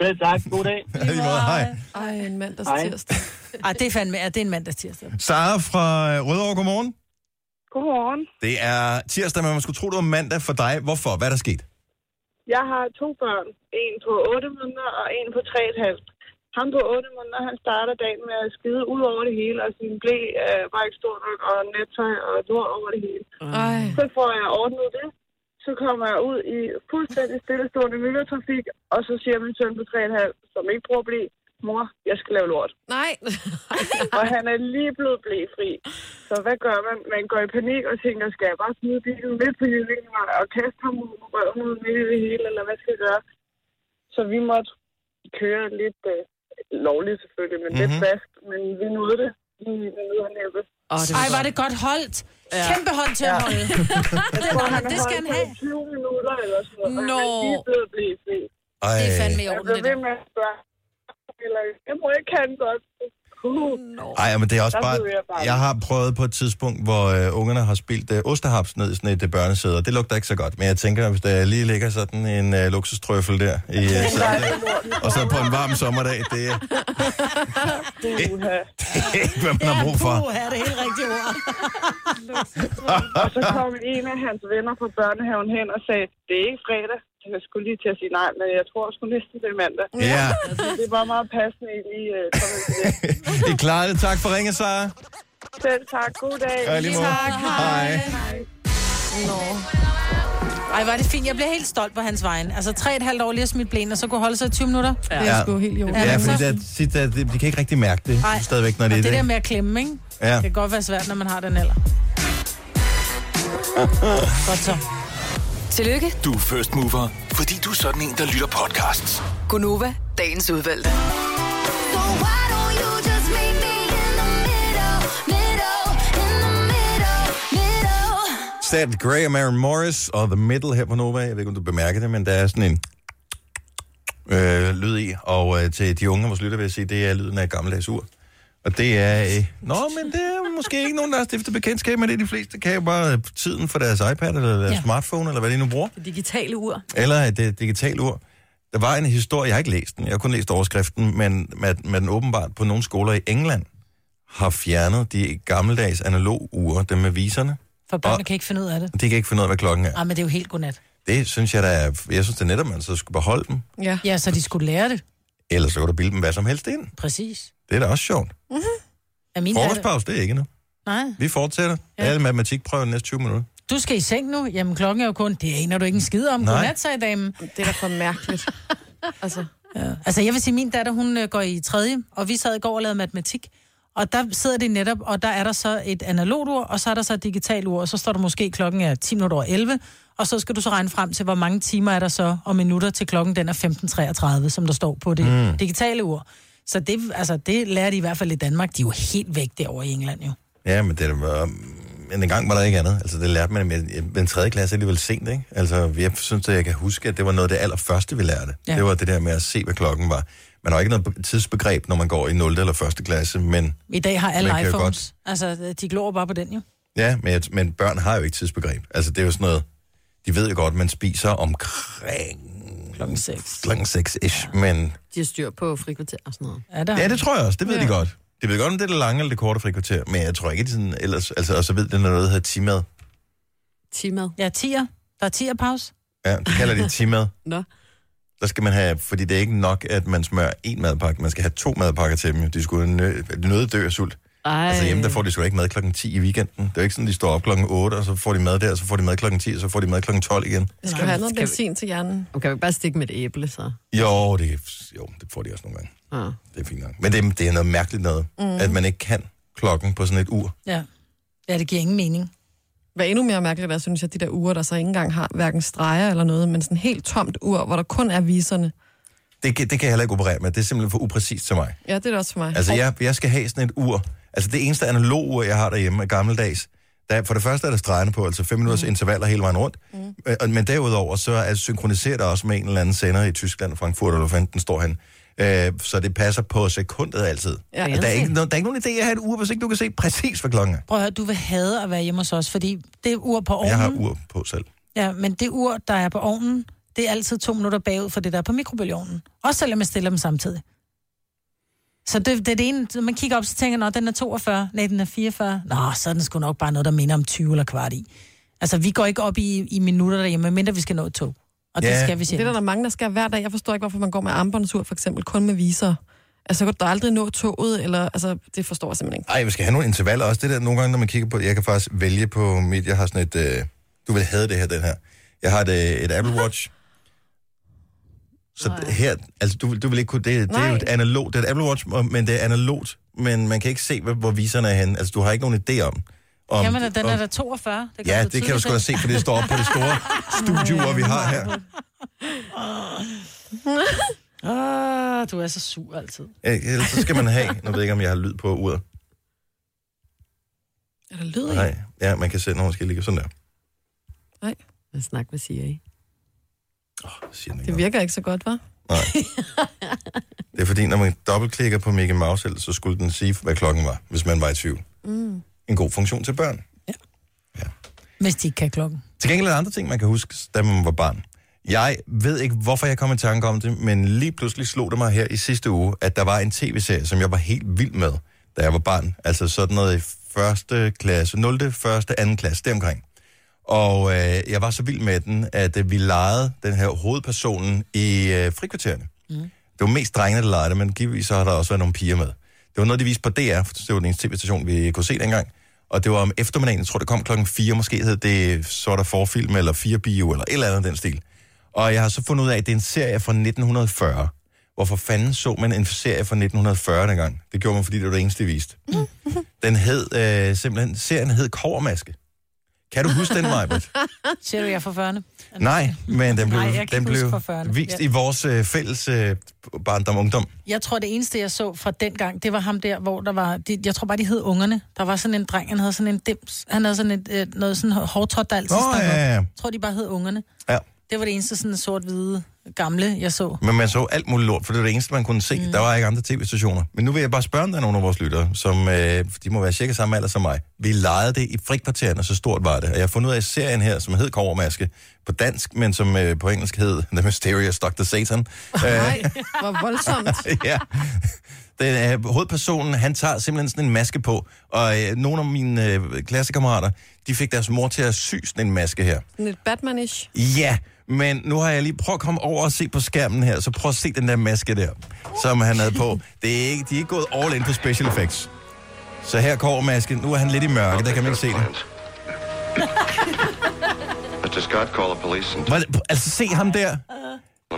Selv tak. God dag. Ja, i måde. Hej. Ej, en mandags Hej. tirsdag. Ej, det er fandme, ja, det er en mandag tirsdag. Sara fra øh, Rødovre, godmorgen. Godmorgen. Det er tirsdag, men man skulle tro, det var mandag for dig. Hvorfor? Hvad er der sket? Jeg har to børn. En på 8 måneder og en på 3,5. Ham på 8 måneder, han starter dagen med at skide ud over det hele, og sin blæ øh, var ikke stor nok, og nettøj og lort over det hele. Ej. Så får jeg ordnet det. Så kommer jeg ud i fuldstændig stillestående myldretrafik, og så siger min søn på 3,5, som ikke bruger blæ, mor, jeg skal lave lort. Nej. [laughs] og han er lige blevet blæfri. Så hvad gør man? Man går i panik og tænker, skal jeg bare smide bilen midt på Jyllinge og kaste ham ud på røven ud midt i det hele, eller hvad skal jeg gøre? Så vi måtte køre lidt øh, lovligt selvfølgelig, men mm-hmm. lidt fast, men vi nåede det. Vi nåede at næppe. Oh, det Ej, var det godt holdt. Ja. Kæmpe hånd til at [laughs] holde. Den tror, er- han har det skal han holdt have. på 20 minutter eller sådan noget, og han Nå. er lige blevet blæfri. Altså, Ej. Det er fandme i Jeg orden, blev det ved med at spørge, eller jeg må ikke kan godt. Uh, Ej, men det er også Der bare... blev jeg bange. Jeg har prøvet på et tidspunkt, hvor øh, ungerne har spildt øh, osterhaps ned i sådan et øh, børnesæde, og det lugter ikke så godt. Men jeg tænker, hvis der lige ligger sådan en øh, luksustrøffel der i øh, sædet, der, og så på en varm sommerdag, det er [laughs] Uha. ikke, hvad man har brug for. Puh, er det helt rigtige ord. og så kom en af hans venner fra børnehaven hen og sagde, det er ikke fredag. Jeg skulle lige til at sige nej, men jeg tror sgu næsten det er mandag. Ja. Altså, det var meget passende, I lige øh, kom ind til det. I klarer det. Tak for ringet, Sara. Selv tak. God dag. Ja, i lige måde. Tak. Hej. Nå. Ej, var det fint. Jeg blev helt stolt på hans vejen. Altså, tre og et halvt år lige at smide blæen, og så kunne holde sig i 20 minutter. Ja. Det er sgu helt i orden. Ja, fordi der, sit, der, de, de kan ikke rigtig mærke det Ej. stadigvæk, når det er Og det det. der med at klemme, ikke? Ja. Det kan godt være svært, når man har den alder. Godt så. Tillykke, Du er first mover, fordi du er sådan en, der lytter podcasts. Gunova, dagens udvalgte. Stat Gray og Maren Morris og The Middle her på Nova. Jeg ved ikke, om du bemærker det, men der er sådan en øh, lyd i. Og øh, til de unge af vores lytter vil jeg sige, det er lyden af et gammeldags ur. Og det er... Øh, nå, men det er måske ikke nogen, der har stiftet bekendtskab med det. De fleste kan jo bare øh, tiden for deres iPad eller deres ja. Ja. smartphone, eller hvad de nu bruger. Det digitale ur. Eller et øh, digitalt ur. Der var en historie, jeg har ikke læst den, jeg har kun læst overskriften, men man, man åbenbart på nogle skoler i England har fjernet de gammeldags analog ure, dem med viserne. For børnene kan ikke finde ud af det. De kan ikke finde ud af, hvad klokken er. Ej, men det er jo helt godnat. Det synes jeg, der er, jeg synes, det er netop, man så skulle beholde dem. Ja. ja, så de skulle lære det. Ellers så kan du bilde dem hvad som helst ind. Præcis. Det er da også sjovt. Er min datter... Frokostpause, det er ikke nu. Nej. Vi fortsætter. Ja. Alle matematikprøver næste 20 minutter. Du skal i seng nu. Jamen, klokken er jo kun... Det aner du ikke en skid om. Nej. Godnat, sagde damen. Det er da for mærkeligt. Altså, Ja. Altså, jeg vil sige, min datter, hun øh, går i tredje, og vi sad i går og lavede matematik. Og der sidder det netop, og der er der så et analogt ur, og så er der så et digitalt ur, og så står der måske klokken er 10 minutter over 11, og så skal du så regne frem til, hvor mange timer er der så og minutter til klokken den er 15.33, som der står på det Mm. mm. digitale ur. Så det, altså, det lærer de i hvert fald i Danmark. De er jo helt væk derovre i England jo. Ja, men det er da- øh, men engang var der ikke andet. Altså, det lærte man med den tredje klasse er alligevel sent, ikke? Altså, jeg synes, at jeg kan huske, at det var noget af det allerførste, vi lærte. Ja. Ja. Det var det der med at se, hvad klokken var. Man har ikke noget be- tidsbegreb, når man går i 0. eller 1. klasse, men, I dag har alle Man kan jo iPhones. Altså, de glor bare på den jo. ja, men, jeg- men børn har jo ikke tidsbegreb. Altså, det er jo sådan noget, de ved jo godt, man spiser omkring... Klokken 6. Klokken 6-ish, ja. men De har styr på frikvarter og sådan noget. Er der? Ja, det tror jeg også. Det ved ja. de godt. De ved godt, om det er det lange eller det korte frikvarter, men jeg tror ikke, de sådan ellers... Altså, og så ved de, når noget der hedder timad. Timad. Ja, 10'er. Der er 10'er pause. Ja, det kalder de timad. Nå. Der skal man have... Fordi det er ikke nok, at man smører én madpakke. Man skal have to madpakker til dem. jo. De skulle nø, nøde dø af sult. Ej. Altså hjemme, der får de sgu da ikke mad klokken 10 i weekenden. Det er jo ikke sådan, de står op klokken 8, og så får de mad der, og så får de mad klokken 10, og så får de mad klokken 12 igen. Jeg skal have noget benzin til hjernen. Du kan jo ikke bare stikke med et æble, så. Jo, det, jo, det får de også nogle gange. Ah. Det er fint nok. Men det, det er noget mærkeligt noget, Mm. mm. at man ikke kan klokken på sådan et ur. Ja. Ja, det giver ingen mening. Hvad endnu mere mærkeligt er, synes jeg, de der uger, der så ikke engang har hverken streger eller noget, men sådan helt tomt ur, hvor der kun er viserne. Det, kan- det kan jeg heller ikke operere med. Det er simpelthen for upræcist til mig. Ja, det er det også for mig. Altså, jeg, jeg skal have sådan et ur. Altså, det eneste analog ur, jeg har derhjemme, er gammeldags. Der, for det første er der stregerne på, altså 5 minutters mm. intervaller hele vejen rundt. Mm. Men derudover, så er synkroniserer det også med en eller anden sender i Tyskland, Frankfurt, eller hvor fanden den står hen. Øh, så det passer på sekundet altid. Ja, Ja, der, jeg er ser. ikke, no- der er ikke nogen idé at have et ur, hvis ikke du kan se præcis, hvad klokken er. Prøv at høre, du vil have at være hjemme hos os, fordi det ur på Og ovnen... jeg har ur på selv. Ja, men det ur, der er på ovnen, det er altid to minutter bagud for det, der er på mikrobølgeovnen. Også selvom jeg stiller dem samtidig. Så det, det er det ene, når man kigger op, så tænker jeg, "Nå, den er 42, nej, den er 44. Nå, så er den sgu nok bare noget, der minder om 20 eller kvart i. Altså, vi går ikke op i, i minutter derhjemme, medmindre vi skal nå et tog. Og det skal vi Det er der, sjældent. der er mange, der skal hver dag. Jeg forstår ikke, hvorfor man går med armbåndsur, for eksempel, kun med viser. Altså, så kan du aldrig nå toget, eller... Altså, det forstår jeg simpelthen ikke. Ej, vi skal have nogle intervaller også. Det der nogle gange, når man kigger på det, jeg kan faktisk vælge på mit, jeg har sådan et, øh, du vil have det her, den her. Jeg har et, øh, et Apple Watch. Så d- her, altså du, vil- du vil ikke kunne, det, det er jo et analogt, det er et Apple Watch, og- men det er analogt, men man kan ikke se, hvor, hvor viserne er henne. Altså du har ikke nogen idé om. om Jamen, den er om- der 42. Det Ja, det kan du sgu da se, for det står op på det [laughs] store studie, vi har her. Ah, du er så sur altid. Øh, Ellers så skal man have, nu ved jeg ikke, om jeg har lyd på uret. Er der lyd i? Nej, ja, man kan sætte, når man skal ligge sådan der. Nej. Hvad snak med Siri? Siger den ikke Det virker ikke så godt, hva'? Nej. Det er fordi, når man dobbeltklikker på Mickey Mouse, selv, så skulle den sige, hvad klokken var, hvis man var i tvivl. Mm. En god funktion til børn. Hvis de ikke kan klokken. Til gengæld er der andre ting, man kan huske, da man var barn. Jeg ved ikke, hvorfor jeg kom i tanke om det, men lige pludselig slog det mig her i sidste uge, at der var en tv-serie, som jeg var helt vild med, da jeg var barn. Altså sådan noget i første klasse, 0. første, anden klasse, deromkring. Og øh, jeg var så vild med den, at øh, vi legede den her hovedpersonen i øh, frikvartererne. Mm. Det var mest drengene, der legede det, men givetvis så har der også været nogle piger med. Det var noget, de viste på DR, for det var den eneste tv-station, vi kunne se dengang. Og det var om eftermiddagen, jeg tror, det kom klokken 4, måske hed det sort af forfilm, eller 4 bio, eller et eller andet af den stil. Og jeg har så fundet ud af, at det er en serie fra 1940. Hvorfor fanden så man en serie fra 1940 dengang? Det gjorde man, fordi det var det eneste, de [laughs] viste. Den hed øh, simpelthen, serien hed Kovermaske. Kan du huske den, Majbert? [laughs] Ser du, jeg er fra 40'erne? Nej, men den blev, Nej, jeg Nej, kan den ikke huske blev forførende. vist Ja. i vores øh, fælles øh, barndom og ungdom. Jeg tror, det eneste, jeg så fra den gang, det var ham der, hvor der var... De, jeg tror bare, de hed Ungerne. Der var sådan en dreng, han havde sådan en dims. Han havde sådan et, øh, noget sådan hårdtrådt, der altid Nå, stak ja, op. ja, ja. Jeg tror, de bare hed Ungerne. Ja. Det var det eneste sådan sort-hvide gamle, jeg så. Men man så alt muligt lort, for det var det eneste, man kunne se. Mm. Der var ikke andre tv-stationer. Men nu vil jeg bare spørge, om der er nogen af vores lyttere, som øh, de må være cirka samme alder som mig. Vi lejede det i frikvartererne, så stort var det. Og jeg har fundet ud af serien her, som hed Kovermaske på dansk, men som øh, på engelsk hed [laughs] The Mysterious Dr. Satan. Øh, Nej, hvor voldsomt. ja. Den, øh, hovedpersonen, han tager simpelthen sådan en maske på, og øh, nogle af mine øh, klassekammerater, de fik deres mor til at sy sådan en maske her. Sådan lidt Batmanish. Ja, men nu har jeg lige prøvet at komme over og se på skærmen her, så prøv at se den der maske der, som han havde på. Det er ikke, de er ikke gået all in på special effects. Så her kommer masken. Nu er han lidt i mørke, der kan man ikke se det. Mr. Scott, call the police and Hvor- Altså, se ham der.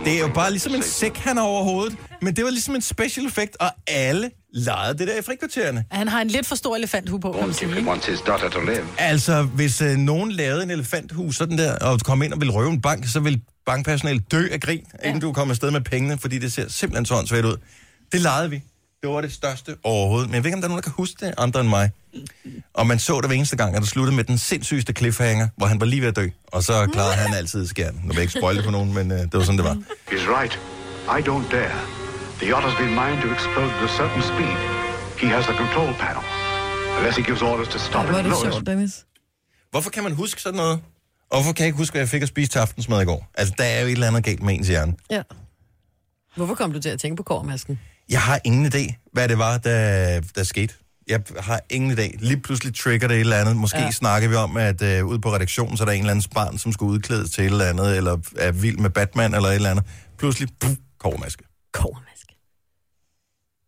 Det er jo bare ligesom en sæk, han har over hovedet. Men det var ligesom en special effect, og alle legede det der i frikvartererne. Han har en lidt for stor elefanthue på, kan man sige. ikke? wants his daughter to live. Altså, hvis øh, nogen lavede en elefanthus sådan der, og du kom ind og ville røve en bank, så ville bankpersonalet dø af grin, ja. inden du kom afsted med pengene, fordi det ser simpelthen så åndssvagt ud. Det lejede vi. Det var det største overhovedet. Men jeg ved ikke, om der er nogen, der kan huske det, andre end mig. Og man så det hver eneste gang, at det sluttede med den sindssygeste cliffhanger, hvor han var lige ved at dø. Og så klarede han altid skærmen. Nu vil jeg ikke spoil det for nogen, men øh, det var sådan, det var. He's right. I don't dare. The otter's been mined to explode at a certain speed. He has the control panel. Unless he gives orders to stop Hvor er it, det no, sjovt, Dennis. Hvorfor kan man huske sådan noget? Og hvorfor kan jeg ikke huske, hvad jeg fik at spise til aftensmad i går? Altså, der er jo et eller andet galt med ens hjerne. Ja. Hvorfor kom du til at tænke på kormasken? Jeg har ingen idé, hvad det var, der, der skete. Jeg har ingen idé. Lige pludselig trigger det et eller andet. Måske Ja. ja. snakker vi om, at øh, ude på redaktionen, så er der en eller anden barn, som skal udklædes til et eller andet, eller er vild med Batman eller et eller andet. Pludselig, puff, kovermaske. Kovermaske.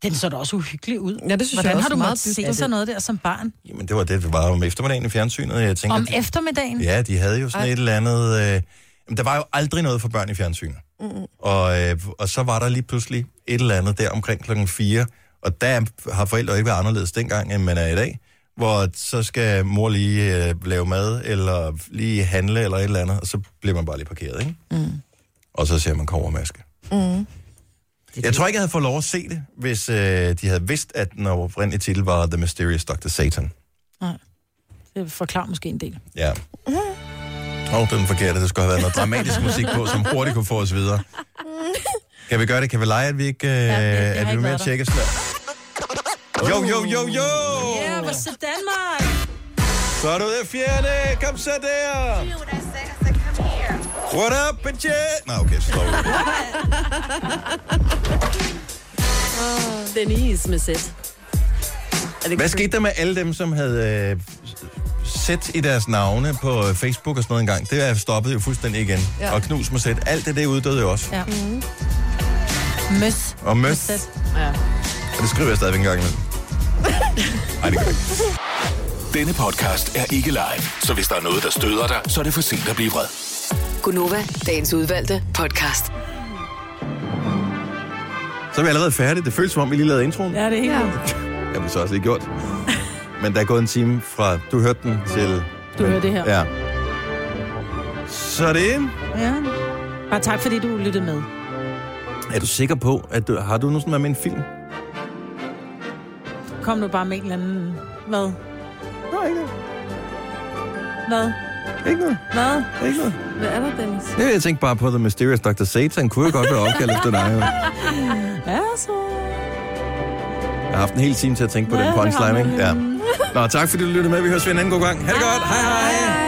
Den så da også uhyggelig ud. Ja, det synes Hvordan jeg har også du meget måttet dybt. se Ja, sådan det- noget der som barn? Men det var det, det var om eftermiddagen i fjernsynet. Jeg tænker, Om de- eftermiddagen? Ja, de havde jo sådan Ej. Ej. et eller andet... Øh, jamen, der var jo aldrig noget for børn i fjernsynet. Mm-mm. Og, øh, og så var der lige pludselig et eller andet der omkring klokken 4, og der har forældre jo ikke været anderledes dengang, end man er i dag, hvor så skal mor lige øh, lave mad, eller lige handle, eller et eller andet, og så bliver man bare lige parkeret, ikke? Mm. Og så ser man kovermaske. Mm. Jeg tror ikke, jeg havde fået lov at se det, hvis øh, de havde vidst, at den oprindelige titel var The Mysterious Dr. Satan. Nej. Det forklarer Øh, måske en del. Ja. Og den forkerte, der skulle have været noget [laughs] dramatisk musik på, som hurtigt kunne få os videre. Kan vi gøre det? Kan vi lege, at vi ikke... Øh, ja, har at vi ikke er med været at der. tjekke slag? Jo, jo, jo, jo! Ja, hvor så Danmark! Så er du ude af fjerne! Kom så der! What up, bitch? Nå, okay, så står vi. Denise med sæt. Er det Hvad skete der med alle dem, som havde øh, sæt i deres navne på øh, Facebook og sådan noget engang? Det er stoppet jo fuldstændig igen. Ja. Ja. Og knus med sæt. Alt det, det uddøde jo også. Ja. Mm. Møs. Og møs. Med sæt. Ja. Og det skriver jeg stadigvæk engang imellem. Nej, det gør jeg ikke. Denne podcast er ikke live, så hvis der er noget, der støder dig, så er det for sent at blive vred. Gunova, dagens udvalgte podcast. Så er vi allerede færdige. Det føles som om, vi lige lavede introen. Ja, det er helt Det har vi så også lige gjort. Men der er gået en time fra, du hørte den, til... Du hører det her. Ja. Så er det en. ja. Bare tak, fordi du lyttede med. Er du sikker på, at du, har du nu sådan noget med en film? Kom nu bare med en eller anden... Hvad? Nej, ikke noget. Hvad? Ikke noget. Hvad? Ikke noget. Hvad er der, Dennis? Ja, jeg tænkte bare på The Mysterious Dr. Satan. Kunne jo godt være opkaldt efter dig. Jo. Ja, så... Jeg har haft en hel time til at tænke på den punchline, ikke? Ja. Nå, tak fordi du lyttede med. Vi høres ved en anden god gang. Ha' det godt. Hej hej.